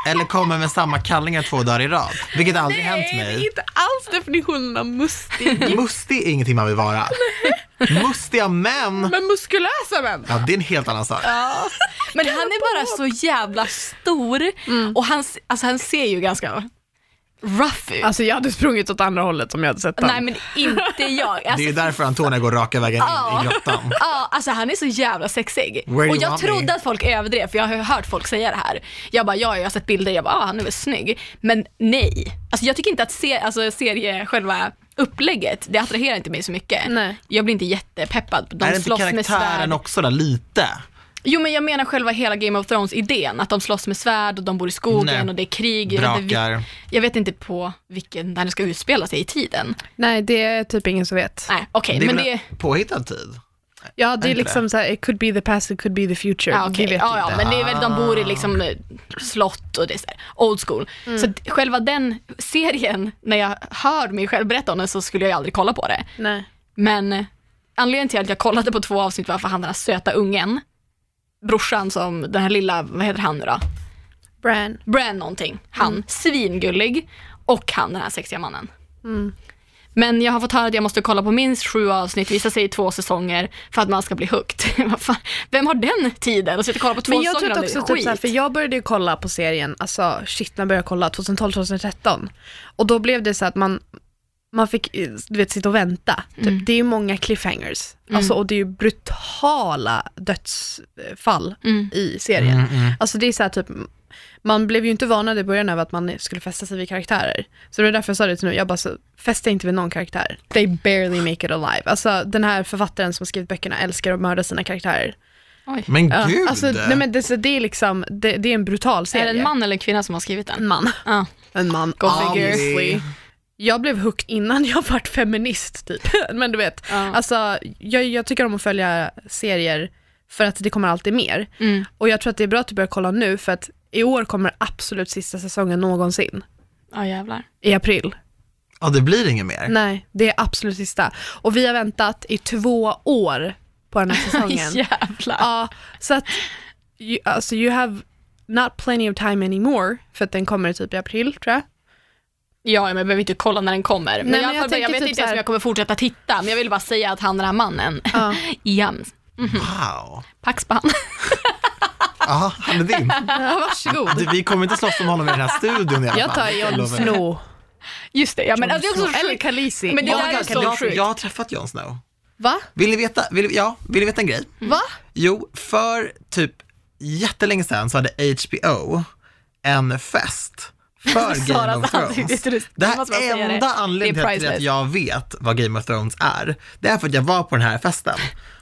S1: eller kommer med samma kallingar två dagar i rad, vilket aldrig hänt mig.
S3: Nej, det är inte alls definitionen av mustig.
S1: Mustig är ingenting man vill vara. Mustiga män,
S3: Men muskulösa män.
S1: ja det är en helt annan sak.
S2: Men han är bara så jävla stor och han, s- alltså, han ser ju ganska rough ut.
S3: Alltså jag hade sprungit åt andra hållet om jag hade sett den.
S2: Nej men inte
S1: Det
S2: jag.
S1: är ju
S2: Alltså,
S1: därför Antonia går raka vägen in
S2: Ja.
S1: i grottan.
S2: Ja, alltså han är så jävla sexig.
S1: Where
S2: och
S1: you
S2: jag
S1: want me?
S2: trodde att folk överdrev för jag har ju hört folk säga det här. Jag bara, ja jag har sett bilder, jag bara, ah, han är väl snygg. Men nej. Alltså jag tycker inte att se, alltså, serie, själva upplägget, det attraherar inte mig så mycket.
S3: Nej.
S2: Jag blir inte jättepeppad. De
S1: är det inte
S2: slåss med
S1: karaktären
S2: svärd.
S1: också där lite?
S2: Jo men jag menar själva hela Game of Thrones-idén, att de slåss med svärd och de bor i skogen
S1: Nej.
S2: och det är krig. Jag vet, inte, vi-
S1: Drakar.
S2: jag vet inte på vilken, när det ska utspela sig i tiden.
S3: Nej, det är typ ingen som vet.
S2: Nej okej,
S1: det är
S2: men
S1: väl
S2: det
S1: en påhittad tid?
S3: Ja, det är
S1: inte
S3: liksom så här, it could be the past, it could be the future.
S2: Ja, okej.
S3: Vi vet
S2: ja, ja,
S3: inte. Ah.
S2: men det är väl, de bor i liksom eh, slott och det är så här, old school.
S3: Mm.
S2: Så att själva den serien, när jag hör mig själv berätta om den så skulle jag ju aldrig kolla på det.
S3: Nej.
S2: Men eh, anledningen till att jag kollade på två avsnitt var för han den här söta ungen, brorsan som, den här lilla, vad heter han nu då?
S3: Bran.
S2: Bran någonting, han,
S3: Mm.
S2: svingullig och han den här sexiga mannen.
S3: Mm.
S2: Men jag har fått höra att jag måste kolla på minst sju avsnitt, vissa säger två säsonger för att man ska bli hooked. Vad fan, Vem har den tiden att sitta och kolla på två
S3: Men jag
S2: säsonger
S3: tror
S2: av det?
S3: också typ
S2: Skit.
S3: såhär, för jag började ju kolla på serien, alltså shit när jag började kolla, 2012-2013. Och då blev det så att man, man fick eh, du vet, sitta och vänta. Typ.
S2: Mm.
S3: Det är ju många cliffhangers, alltså, och det är ju brutala dödsfall
S2: Mm.
S3: i serien. Alltså det är så här, typ, man blev ju inte vanad i början över att man skulle fästa sig vid karaktärer. Så det var därför jag sa det till nu, jag bara så, fästa inte vid någon karaktär. They barely make it alive. Alltså den här författaren som har skrivit böckerna älskar att mörda sina karaktärer.
S2: Oj.
S1: Men
S3: Ja,
S1: gud!
S3: alltså, nej, men det, så det är liksom, det, det är en brutal
S2: Är
S3: serie. Mm.
S2: det en man eller en kvinna som har skrivit den?
S3: En man.
S2: Ja.
S3: En man.
S2: Go figure.
S1: Obviously.
S3: Jag blev hooked innan jag vart feminist typ. Men du vet,
S2: Ja.
S3: alltså, jag, jag tycker om att följa serier för att det kommer alltid mer.
S2: Mm.
S3: Och jag tror att det är bra att du börjar kolla nu för att i år kommer absolut sista säsongen någonsin.
S2: Ja jävlar.
S3: I april.
S1: Ja, det blir inget mer.
S3: Nej, det är absolut sista. Och vi har väntat i två år på den här säsongen.
S2: jävlar.
S3: Ja, så att you, alltså you have not plenty of time anymore för att den kommer typ i april tror jag.
S2: Ja, men jag behöver inte kolla när den kommer. Men
S3: men
S2: jag, jag,
S3: jag
S2: jag
S3: tänker
S2: vet
S3: typ
S2: inte
S3: så
S2: ens
S3: här-
S2: om jag kommer fortsätta titta, men jag vill bara säga att han den här mannen,
S3: Ja.
S2: Jams,
S1: Wow.
S2: pax på han.
S1: Ja, han är din.
S3: Ja, varsågod.
S1: Du, vi kommer inte slåss om honom i den här studion i alla
S3: Jag
S1: fall.
S3: tar Jon
S1: lovar.
S3: Snow.
S2: Just det, ja, men alltså, det är också
S3: Eller
S2: sjukt.
S3: Khaleesi.
S2: Men det
S1: Oh my
S2: där är
S1: God,
S2: så
S1: jag,
S2: sjukt.
S1: jag har träffat Jon Snow.
S3: Va?
S1: Vill ni veta, vill, ja, vill ni veta en grej?
S2: Mm.
S3: Va?
S1: Jo, för typ jättelänge sedan så hade HBO en fest för Game
S2: Saras
S1: of Thrones.
S2: ansikte är trist.
S1: Det
S2: Jag måste bara
S1: här
S2: säga det.
S1: enda anledningen
S2: Det är
S1: till att
S2: priceless.
S1: jag vet vad Game of Thrones är, det är för att jag var på den här festen.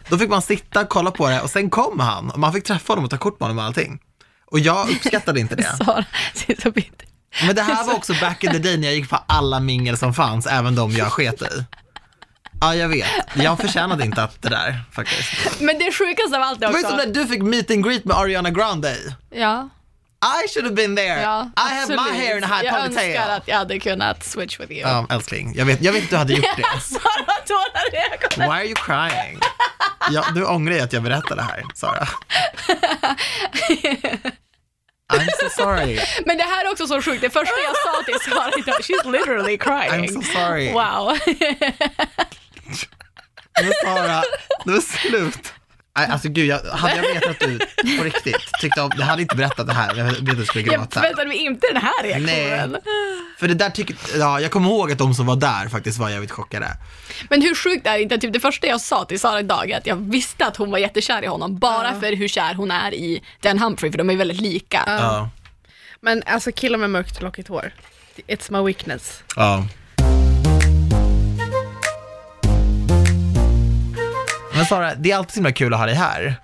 S1: Då fick man sitta, kolla på det och sen kom han och man fick träffa honom och ta kort med honom och allting. Och jag uppskattade inte det.
S2: Sara ser så bitter.
S1: Men det här var också back in the day när jag gick på alla mingel som fanns, även de jag sket i. Ja, jag vet. Jag förtjänade inte att det där faktiskt.
S2: Men det sjukaste av allt är
S1: Det var ju
S2: också.
S1: som när du fick meet and greet med Ariana Grande.
S2: Ja,
S1: I should have been there.
S2: ja,
S1: I have my
S2: absolut.
S1: hair in a high
S2: Jag önskar
S1: ponytail.
S2: att jag hade kunnat switch with you.
S1: Ja, älskling, jag vet, jag vet att du hade gjort det.
S2: Sara har tårar i ögonen.
S1: Why are you crying? Ja, nu ångrar jag att jag berättade det här, Sara. I'm so sorry.
S2: Men det här är också så sjukt, det första jag sa till Sara idag, she's literally
S1: I'm
S2: crying.
S1: so sorry.
S2: Wow.
S1: Men Sara, nu är slut. Nej, alltså gud, jag, hade jag vetat att du på riktigt tyckte om, jag hade inte berättat det här, jag vet att du skulle
S2: Jag
S1: gråta.
S2: väntade mig inte den här reaktionen.
S1: Nej. För det där tycker, ja, jag kommer ihåg att de som var där faktiskt var jävligt chockade.
S2: Men hur sjukt är det inte att typ det första jag sa till Sara idag är att jag visste att hon var jättekär i honom bara för hur kär hon är i Dan Humphrey för de är väldigt lika.
S1: Ja.
S3: Men alltså killar med mörkt lockigt hår. It's my weakness.
S1: Ja. Men Sara, det är alltid så himla kul att ha dig här.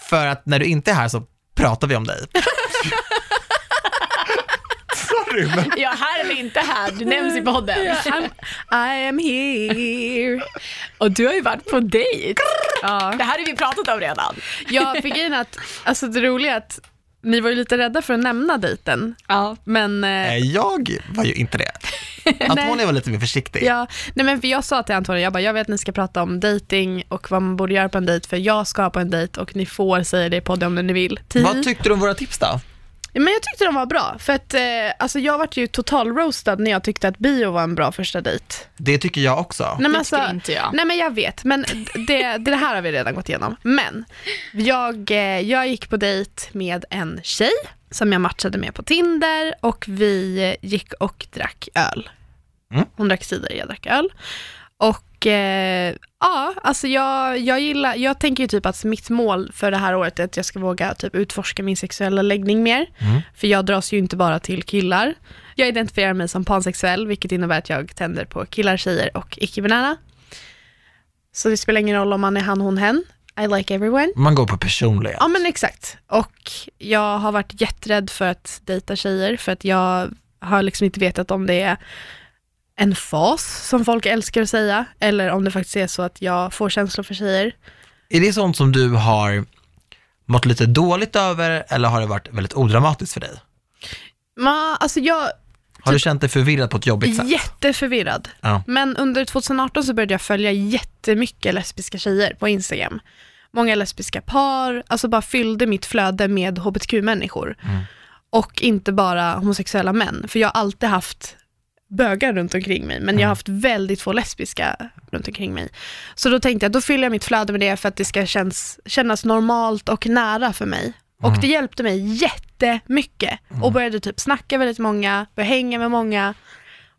S1: För att när du inte är här så pratar vi om dig. Sorry, men
S2: Jag är här eller inte här, du nämns i podden.
S3: I'm, I am here.
S2: Och du har ju varit på dejt.
S3: Ja.
S2: Det här har vi pratat om redan.
S3: Jag fick in att, alltså det roliga är att ni var ju lite rädda för att nämna dejten.
S2: Ja.
S3: Men eh,
S1: Nej, jag var ju inte det. Antonija var lite mer försiktig.
S3: Ja, nej men för jag sa till Antonija, jag bara, jag vet att ni ska prata om dating och vad man borde göra på en dejt, för jag ska på en dejt och ni får säga det i podden om ni vill. Ti.
S1: Vad tyckte du om våra tips då?
S3: Ja, men jag tyckte de var bra, för att eh, alltså jag vart ju total roastad när jag tyckte att bio var en bra första dejt.
S1: Det tycker jag också.
S3: Nej, men alltså,
S2: Det tycker inte jag.
S3: Nej men jag vet, men det, det här har vi redan gått igenom. Men jag, eh, jag gick på dejt med en tjej som jag matchade med på Tinder och vi gick och drack öl.
S1: Mm.
S3: Hon drack cider, jag drack öl. Och eh, ja, alltså jag, jag gillar, jag tänker ju typ att mitt mål för det här året är att jag ska våga typ utforska min sexuella läggning mer.
S1: Mm.
S3: För jag dras ju inte bara till killar. Jag identifierar mig som pansexuell, vilket innebär att jag tänder på killar, tjejer och icke-binära. Så det spelar ingen roll om man är han, hon, hen. I like everyone.
S1: Man går på personlighet.
S3: Ja men exakt. Och jag har varit jätterädd för att dejta tjejer för att jag har liksom inte vetat om det är en fas som folk älskar att säga eller om det faktiskt är så att jag får känslor för tjejer.
S1: Är det sånt som du har mått lite dåligt över eller har det varit väldigt odramatiskt för dig?
S3: Man, alltså jag
S1: Har du känt dig förvirrad på ett jobbigt
S3: är
S1: sätt?
S3: jätteförvirrad.
S1: Ja.
S3: Men under 2018 så började jag följa jättemycket lesbiska tjejer på Instagram. Många lesbiska par, alltså bara fyllde mitt flöde med hbtq-människor.
S1: Mm.
S3: Och inte bara homosexuella män, för jag har alltid haft bögar runt omkring mig, men jag
S1: Mm.
S3: har haft väldigt få lesbiska runt omkring mig. Så då tänkte jag, då fyller jag mitt flöde med det för att det ska känns, kännas normalt och nära för mig. Och
S1: Mm.
S3: det hjälpte mig jättemycket. Och började typ snacka väldigt många, började hänga med många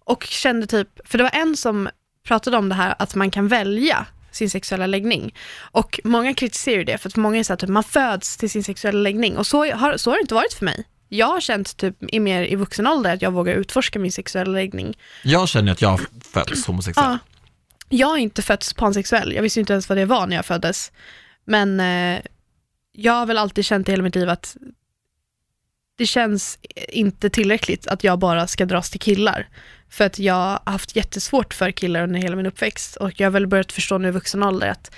S3: och kände typ, för det var en som pratade om det här att man kan välja sin sexuella läggning. Och många kritiserar ju det för att många är så här, typ, man föds till sin sexuella läggning och så har, så har det inte varit för mig. Jag har känt typ i mer i vuxen ålder att jag vågar utforska min sexuella läggning.
S1: Jag känner att jag föds homosexuell.
S3: Ja. Jag är inte fötts pansexuell, jag visste inte ens vad det var när jag föddes. Men eh, jag har väl alltid känt i hela mitt liv att det känns inte tillräckligt att jag bara ska dras till killar. För att jag har haft jättesvårt för killar under hela min uppväxt och jag har väl börjat förstå nu i vuxen ålder att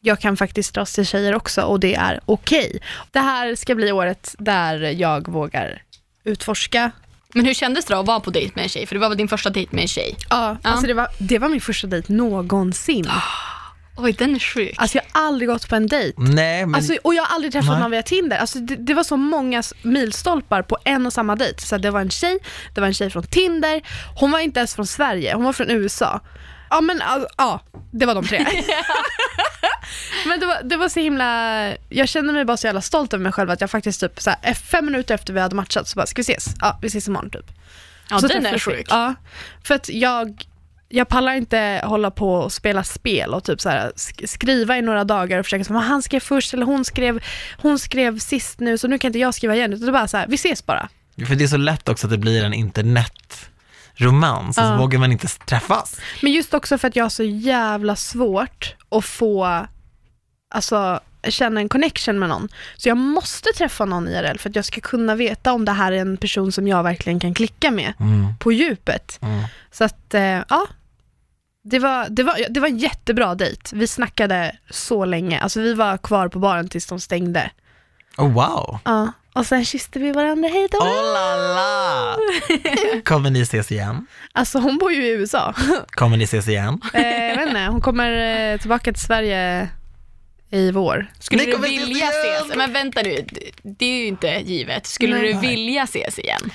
S3: jag kan faktiskt dras till tjejer också och det är okej. Det här ska bli året där jag vågar utforska.
S2: Men hur kändes det då att vara på dejt med en tjej? För det var väl din första dejt med en tjej?
S3: Ja, alltså
S2: Ja.
S3: det var, det var min första dejt någonsin.
S2: Oj, den är sjuk.
S3: Alltså jag har aldrig gått på en dejt
S1: Nej, men
S3: Alltså, och jag har aldrig träffat
S1: Nej.
S3: någon via Tinder. Alltså, det, det var så många s- milstolpar på en och samma dejt. Så det var en tjej, det var en tjej från Tinder, hon var inte ens från Sverige, hon var från USA. Ja men all- ja, det var de tre. men det var, det var så himla, jag kände mig bara så jävla stolt över mig själv att jag faktiskt typ så här, fem minuter efter vi hade matchat så bara, ska vi ses? Ja, vi ses imorgon typ.
S2: ja,
S3: Så
S2: den är
S3: träffades vi.
S2: sjuk.
S3: Ja, för att jag, jag pallar inte hålla på och spela spel och typ så här, sk- skriva i några dagar och försöka som han skrev först eller hon skrev, hon skrev sist nu så nu kan inte jag skriva igen utan det är bara så här, vi ses bara.
S1: för det är så lätt också att det blir en internetromans och så
S3: Ja.
S1: vågar man inte träffas.
S3: Men just också för att jag har så jävla svårt att få, alltså känna en connection med någon. Så jag måste träffa någon IRL för att jag ska kunna veta om det här är en person som jag verkligen kan klicka med
S1: Mm,
S3: på djupet.
S1: mm.
S3: Så att, eh, ja. Det var, det, var, det var en jättebra dejt. Vi snackade så länge. Alltså vi var kvar på baren tills de stängde.
S1: Oh, wow.
S3: Ja. Och sen kysste vi varandra, hej då!
S1: Oh la la! Kommer ni ses igen?
S3: Alltså hon bor ju i USA.
S1: Kommer ni ses igen?
S3: eh, jag vet inte, hon kommer eh, tillbaka till Sverige i vår.
S2: Skulle
S1: Ni
S2: du
S1: kommer ses
S2: vilja
S1: igen!
S2: ses? Men vänta nu, d- det är ju inte givet. Skulle
S3: Nej.
S2: du vilja ses igen?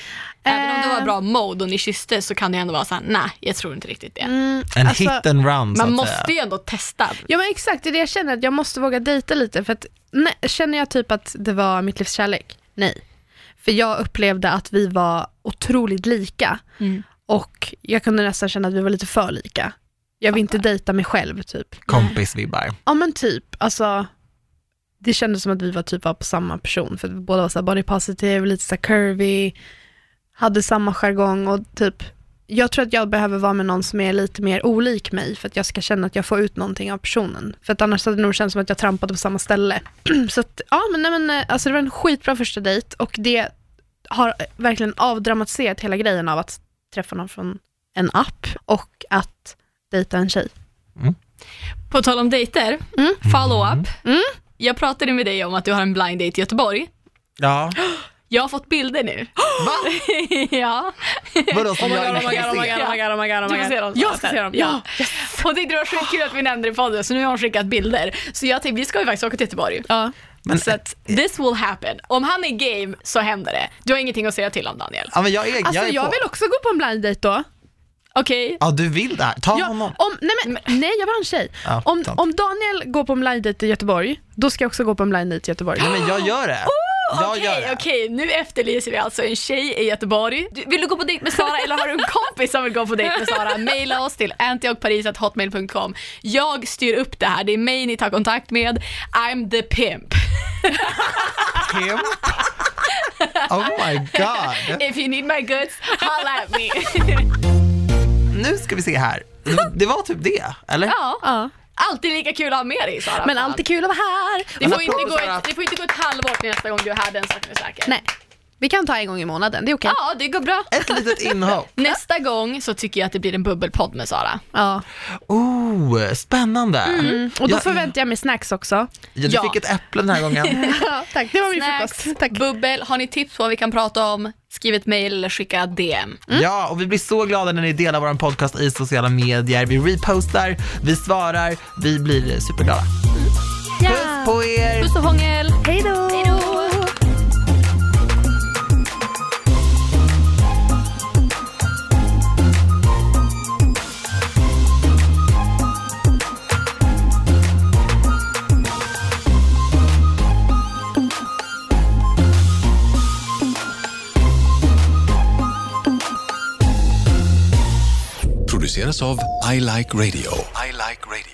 S2: Även om det var
S3: Eh.
S2: bra mode och ni kysstes så kan det ju ändå vara såhär, nej jag tror inte riktigt det.
S3: Mm, eh,
S1: En
S3: alltså-
S1: hit and run så
S2: Man
S1: att
S2: måste
S1: säga.
S2: ju ändå testa.
S3: Ja men exakt, det är det jag känner, att jag måste våga dejta lite. För att, nej, känner jag typ att det var mitt livs kärlek? Nej. För jag upplevde att vi var otroligt lika.
S2: Mm.
S3: Och jag kunde nästan känna att vi var lite för lika. Jag vill inte dejta mig själv typ.
S1: Kompisvibbar.
S3: Ja men typ, alltså det kändes som att vi var typ var på samma person för att vi båda var så här body positive, lite så här curvy, hade samma jargong och typ jag tror att jag behöver vara med någon som är lite mer olik mig för att jag ska känna att jag får ut någonting av personen. För att annars hade det nog känts som att jag trampade på samma ställe. så att, ja men, nej, men eh, alltså det var en skitbra första dejt och det har eh, verkligen avdramatiserat hela grejen av att träffa någon från en app och att dejta en tjej.
S2: På tal om dejter,
S3: Mm.
S2: follow-up. Jag pratade med dig om att du har en blind date i Göteborg.
S1: Ja.
S2: Jag har fått bilder nu. ja.
S1: Vadå
S3: Oh
S1: som jag inte kan se?
S2: Du får se dem.
S3: Jag ska se dem.
S2: Ja. Hon tyckte det var skitkul att vi nämnde det i podden, så nu har hon skickat bilder. Så jag tänkte, vi ska ju faktiskt åka till Göteborg.
S3: Ja.
S1: Men,
S3: Alltså,
S1: eh,
S2: Så att this will happen. Om han är game så händer det. Du har ingenting att säga till om Daniel.
S1: ja, men jag är,
S3: Alltså
S1: jag är
S3: jag
S1: på.
S3: vill också gå på en blind date då.
S2: Okej?
S1: Ja, du vill det här. Ta
S3: Jag,
S1: honom.
S3: om, nej, men, nej, jag var en tjej.
S1: Ja,
S3: om,
S1: sant.
S3: om Daniel går på en blind date i Göteborg, då ska jag också gå på en blind date i Göteborg. Oh,
S1: Nej, men jag gör det. Jag gör
S2: Okej,
S1: det.
S2: okej, nu efterlyser vi alltså en tjej i Göteborg. Du- Vill du gå på dejt med Sara eller har du en kompis som vill gå på dejt med Sara? Maila oss till antiochparis.hotmail.com. Jag styr upp det här, det är mig ni tar kontakt med. I'm the pimp.
S1: Kim? Oh my god.
S2: If you need my goods, holla at me.
S1: Nu ska vi se här. Det var typ det, eller?
S2: ja,
S3: Ja.
S2: alltid lika kul att ha med dig Sara.
S3: Men
S2: Fan.
S3: alltid kul att vara här.
S2: det
S1: Men
S2: får,
S1: apropå
S2: inte gå
S1: Sara-
S2: ett, det får inte gå ett halvår till nästa gång du är här, den saken är säker.
S3: Nej, vi kan ta en gång i månaden, det är okej.
S2: Ja, det går bra.
S1: Ett litet inhopp.
S2: Nästa gång så tycker jag att det blir en bubbelpodd med Sara.
S3: Ja.
S1: Oh, spännande.
S3: Och då
S1: jag,
S3: förväntar jag mig snacks också.
S1: jag, du
S2: Ja.
S1: fick ett äpple den här gången.
S3: Ja, tack, det var min frukost.
S2: Snacks,
S3: Tack.
S2: bubbel, har ni tips på vad vi kan prata om? Skriv ett mejl eller skicka DM.
S1: Ja, och vi blir så glada när ni delar vår podcast i sociala medier. Vi repostar, vi svarar, vi blir superglada. Puss på er!
S2: Puss och hångel!
S3: Hej då!
S4: produceras av I Like Radio. I like radio.